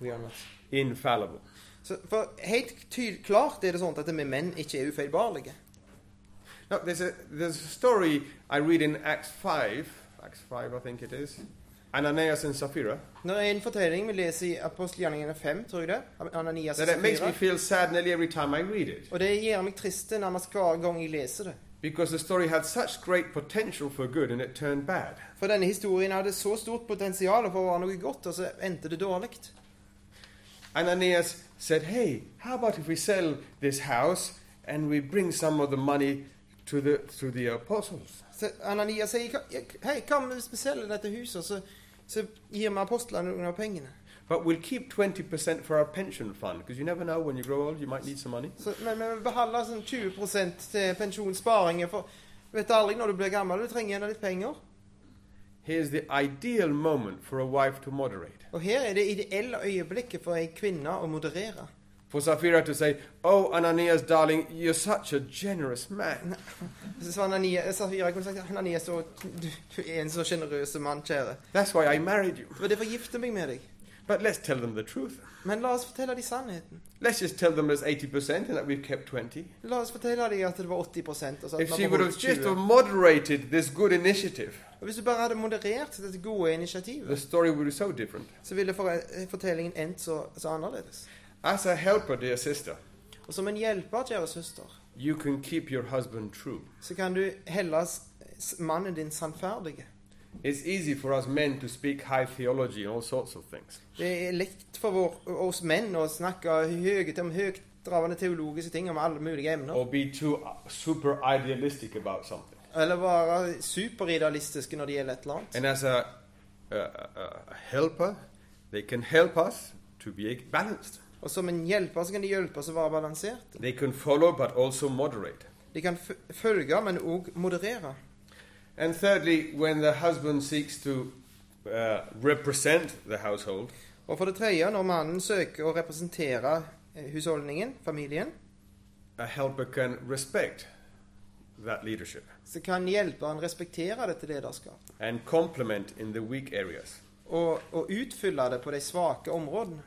Speaker 1: We are not.
Speaker 2: Infallible.
Speaker 1: Så for helt tyd klart er det sånn at vi menn ikke er ufeilbarlige.
Speaker 2: Now, there's a, there's a story I read in Acts 5, Acts 5, I think it is, Ananias and Sapphira,
Speaker 1: Når det er en fortelling vi leser i apostelgjerningene 5, tror jeg det, av Ananias og
Speaker 2: that it makes me
Speaker 1: Safira,
Speaker 2: feel sad nearly every time I read it
Speaker 1: altså og det gjør meg trist nærmest hver gang jeg leser det.
Speaker 2: because the story had such great potential for good and it turned bad.
Speaker 1: For denne historien hadde så stort potensial for å være noe godt, og så endte det dårlig.
Speaker 2: Ananias said, Hey, how about if we sell this house and we bring some of the money to the, to the apostles?
Speaker 1: Så Ananias sier "Hva- Hei, hva om vi selger dette huset, så, så gir vi apostlene noen av pengene?
Speaker 2: But we'll keep 20% for our pension fund because you never know when you grow old, you might need some money.
Speaker 1: Så, men men vi beholder sånn 20 til pensjonssparingen, for du vet aldri når du blir gammel, du trenger gjerne litt penger.
Speaker 2: Here's the ideal moment for a wife to moderate.
Speaker 1: Og her er det ideelle øyeblikket for ei kvinne å moderere.
Speaker 2: For Sapphira to say, Oh, Ananias, darling, you're such a generous man.
Speaker 1: Så sa Ananias, Safira kunne sagt Ananias, du, du du er en så sjenerøs mann, kjære.
Speaker 2: That's why I married you.
Speaker 1: Det var derfor jeg gifte meg med deg.
Speaker 2: But let's tell them the truth.
Speaker 1: Men la oss fortelle dem sannheten.
Speaker 2: Let's just tell them it's 80% and that we've kept 20.
Speaker 1: La oss fortelle dem at det var 80 og så at
Speaker 2: If
Speaker 1: man
Speaker 2: she would
Speaker 1: beholdt
Speaker 2: have just
Speaker 1: 20.
Speaker 2: moderated this good initiative,
Speaker 1: Og Hvis du bare hadde moderert dette gode
Speaker 2: the
Speaker 1: initiativet,
Speaker 2: story would be so different.
Speaker 1: så ville for- fortellingen endt så, så annerledes.
Speaker 2: As a helper, dear sister,
Speaker 1: Og som en hjelper, kjære søster,
Speaker 2: you can keep your husband true.
Speaker 1: så kan du helle s- s- mannen din sannferdige.
Speaker 2: It's easy for us men to speak high theology and all sorts of things.
Speaker 1: Det er lett for vår, oss menn å snakke høyt om høytdravende teologiske ting om alle mulige emner.
Speaker 2: Or be too uh, super idealistic about something.
Speaker 1: Eller være superidealistiske når det gjelder et eller annet.
Speaker 2: And as a, a, a a helper, they can help us to be balanced.
Speaker 1: Og som en hjelper så kan de hjelpe oss å være balanserte.
Speaker 2: They can follow but also moderate.
Speaker 1: De kan f følge, men òg moderere.
Speaker 2: And thirdly, when the husband seeks to uh, represent the household,
Speaker 1: Og for det tredje, når mannen søker å representere eh, husholdningen, familien,
Speaker 2: a helper can respect that leadership
Speaker 1: så kan hjelperen respektere dette lederskapet
Speaker 2: and complement in the weak areas.
Speaker 1: og, og utfylle det på de svake områdene.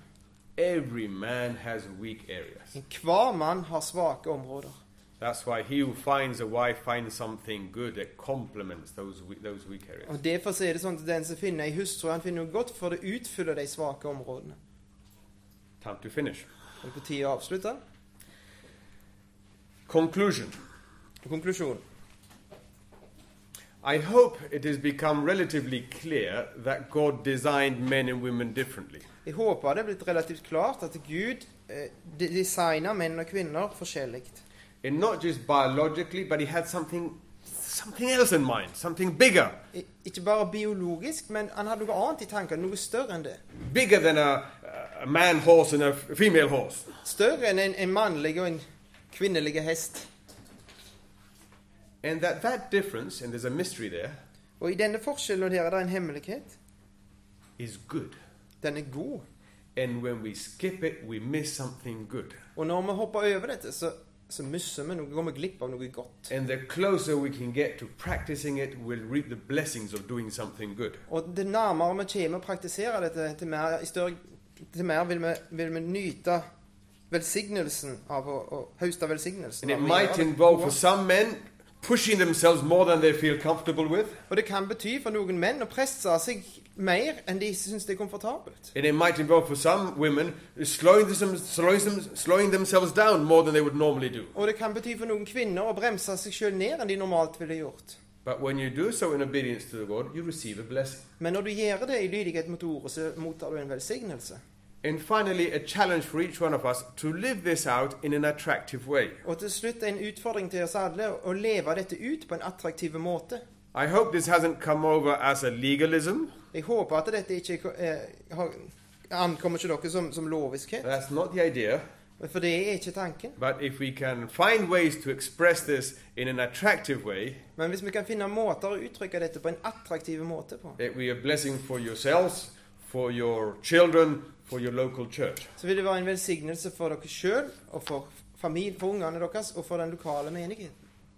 Speaker 2: Every man has weak areas.
Speaker 1: Hver mann har svake områder.
Speaker 2: That's why he who finds a wife finds something good that complements those we- those weak areas.
Speaker 1: Og Derfor så er det sånn at den som finner ei hustru, han finner noe godt for det utfyller de svake områdene.
Speaker 2: Time to finish.
Speaker 1: Er det på tide å avslutte?
Speaker 2: Conclusion.
Speaker 1: Konklusjon.
Speaker 2: I hope it has become relatively clear that God designed men and women differently.
Speaker 1: Jeg håper det er blitt relativt klart at Gud eh, de- designer menn og kvinner forskjellig.
Speaker 2: And not just biologically, but he had something something else in mind, something bigger,
Speaker 1: I- Ikke bare biologisk, men han hadde noe annet i tankene, noe større enn det.
Speaker 2: bigger than a, a man horse and a f- female horse.
Speaker 1: Større enn en, en mannlig og en kvinnelig hest.
Speaker 2: And that that difference, and there's a mystery there,
Speaker 1: Og i denne forskjellen her er det en hemmelighet.
Speaker 2: is good.
Speaker 1: Den er god.
Speaker 2: And when we skip it, we miss something good.
Speaker 1: Og når vi hopper over dette, så, så misser vi noe, går vi glipp av noe godt.
Speaker 2: And the closer we can get to practicing it, we'll reap the blessings of doing something good.
Speaker 1: Og det nærmere vi kommer å praktisere dette, til mer, i større, til mer vil, vi, vil vi nyte velsignelsen av å, å høste velsignelsen.
Speaker 2: And
Speaker 1: av
Speaker 2: it
Speaker 1: å gjøre
Speaker 2: might
Speaker 1: det
Speaker 2: involve, for
Speaker 1: gode.
Speaker 2: some men, pushing themselves more than they feel comfortable with.
Speaker 1: Og det kan bety for noen menn å presse seg mer enn de syns det er komfortabelt.
Speaker 2: And it might involve, for some women, slowing, them, slowing, them, slowing themselves down more than they would normally do.
Speaker 1: Og det kan bety for noen kvinner å bremse seg sjøl ned enn de normalt ville gjort.
Speaker 2: But when you do so in obedience to the Lord, you receive a blessing.
Speaker 1: Men når du gjør det i lydighet mot ordet, så mottar du en velsignelse.
Speaker 2: And finally, a challenge for each one of us to live this out in an attractive way.
Speaker 1: Og til slutt en utfordring til oss alle å leve dette ut på en attraktiv måte.
Speaker 2: I hope this hasn't come over as a legalism.
Speaker 1: Jeg håper at dette ikke eh, har, ankommer til dere som, som loviskhet,
Speaker 2: That's not the idea.
Speaker 1: for det er ikke tanken.
Speaker 2: But if we can find ways to express this in an attractive way,
Speaker 1: Men hvis vi kan finne måter å uttrykke dette på en attraktiv måte på,
Speaker 2: it will be a blessing for yourselves, for your children, for your local church.
Speaker 1: så vil det være en velsignelse for dere sjøl og for familien, for ungene deres og for den lokale menigheten.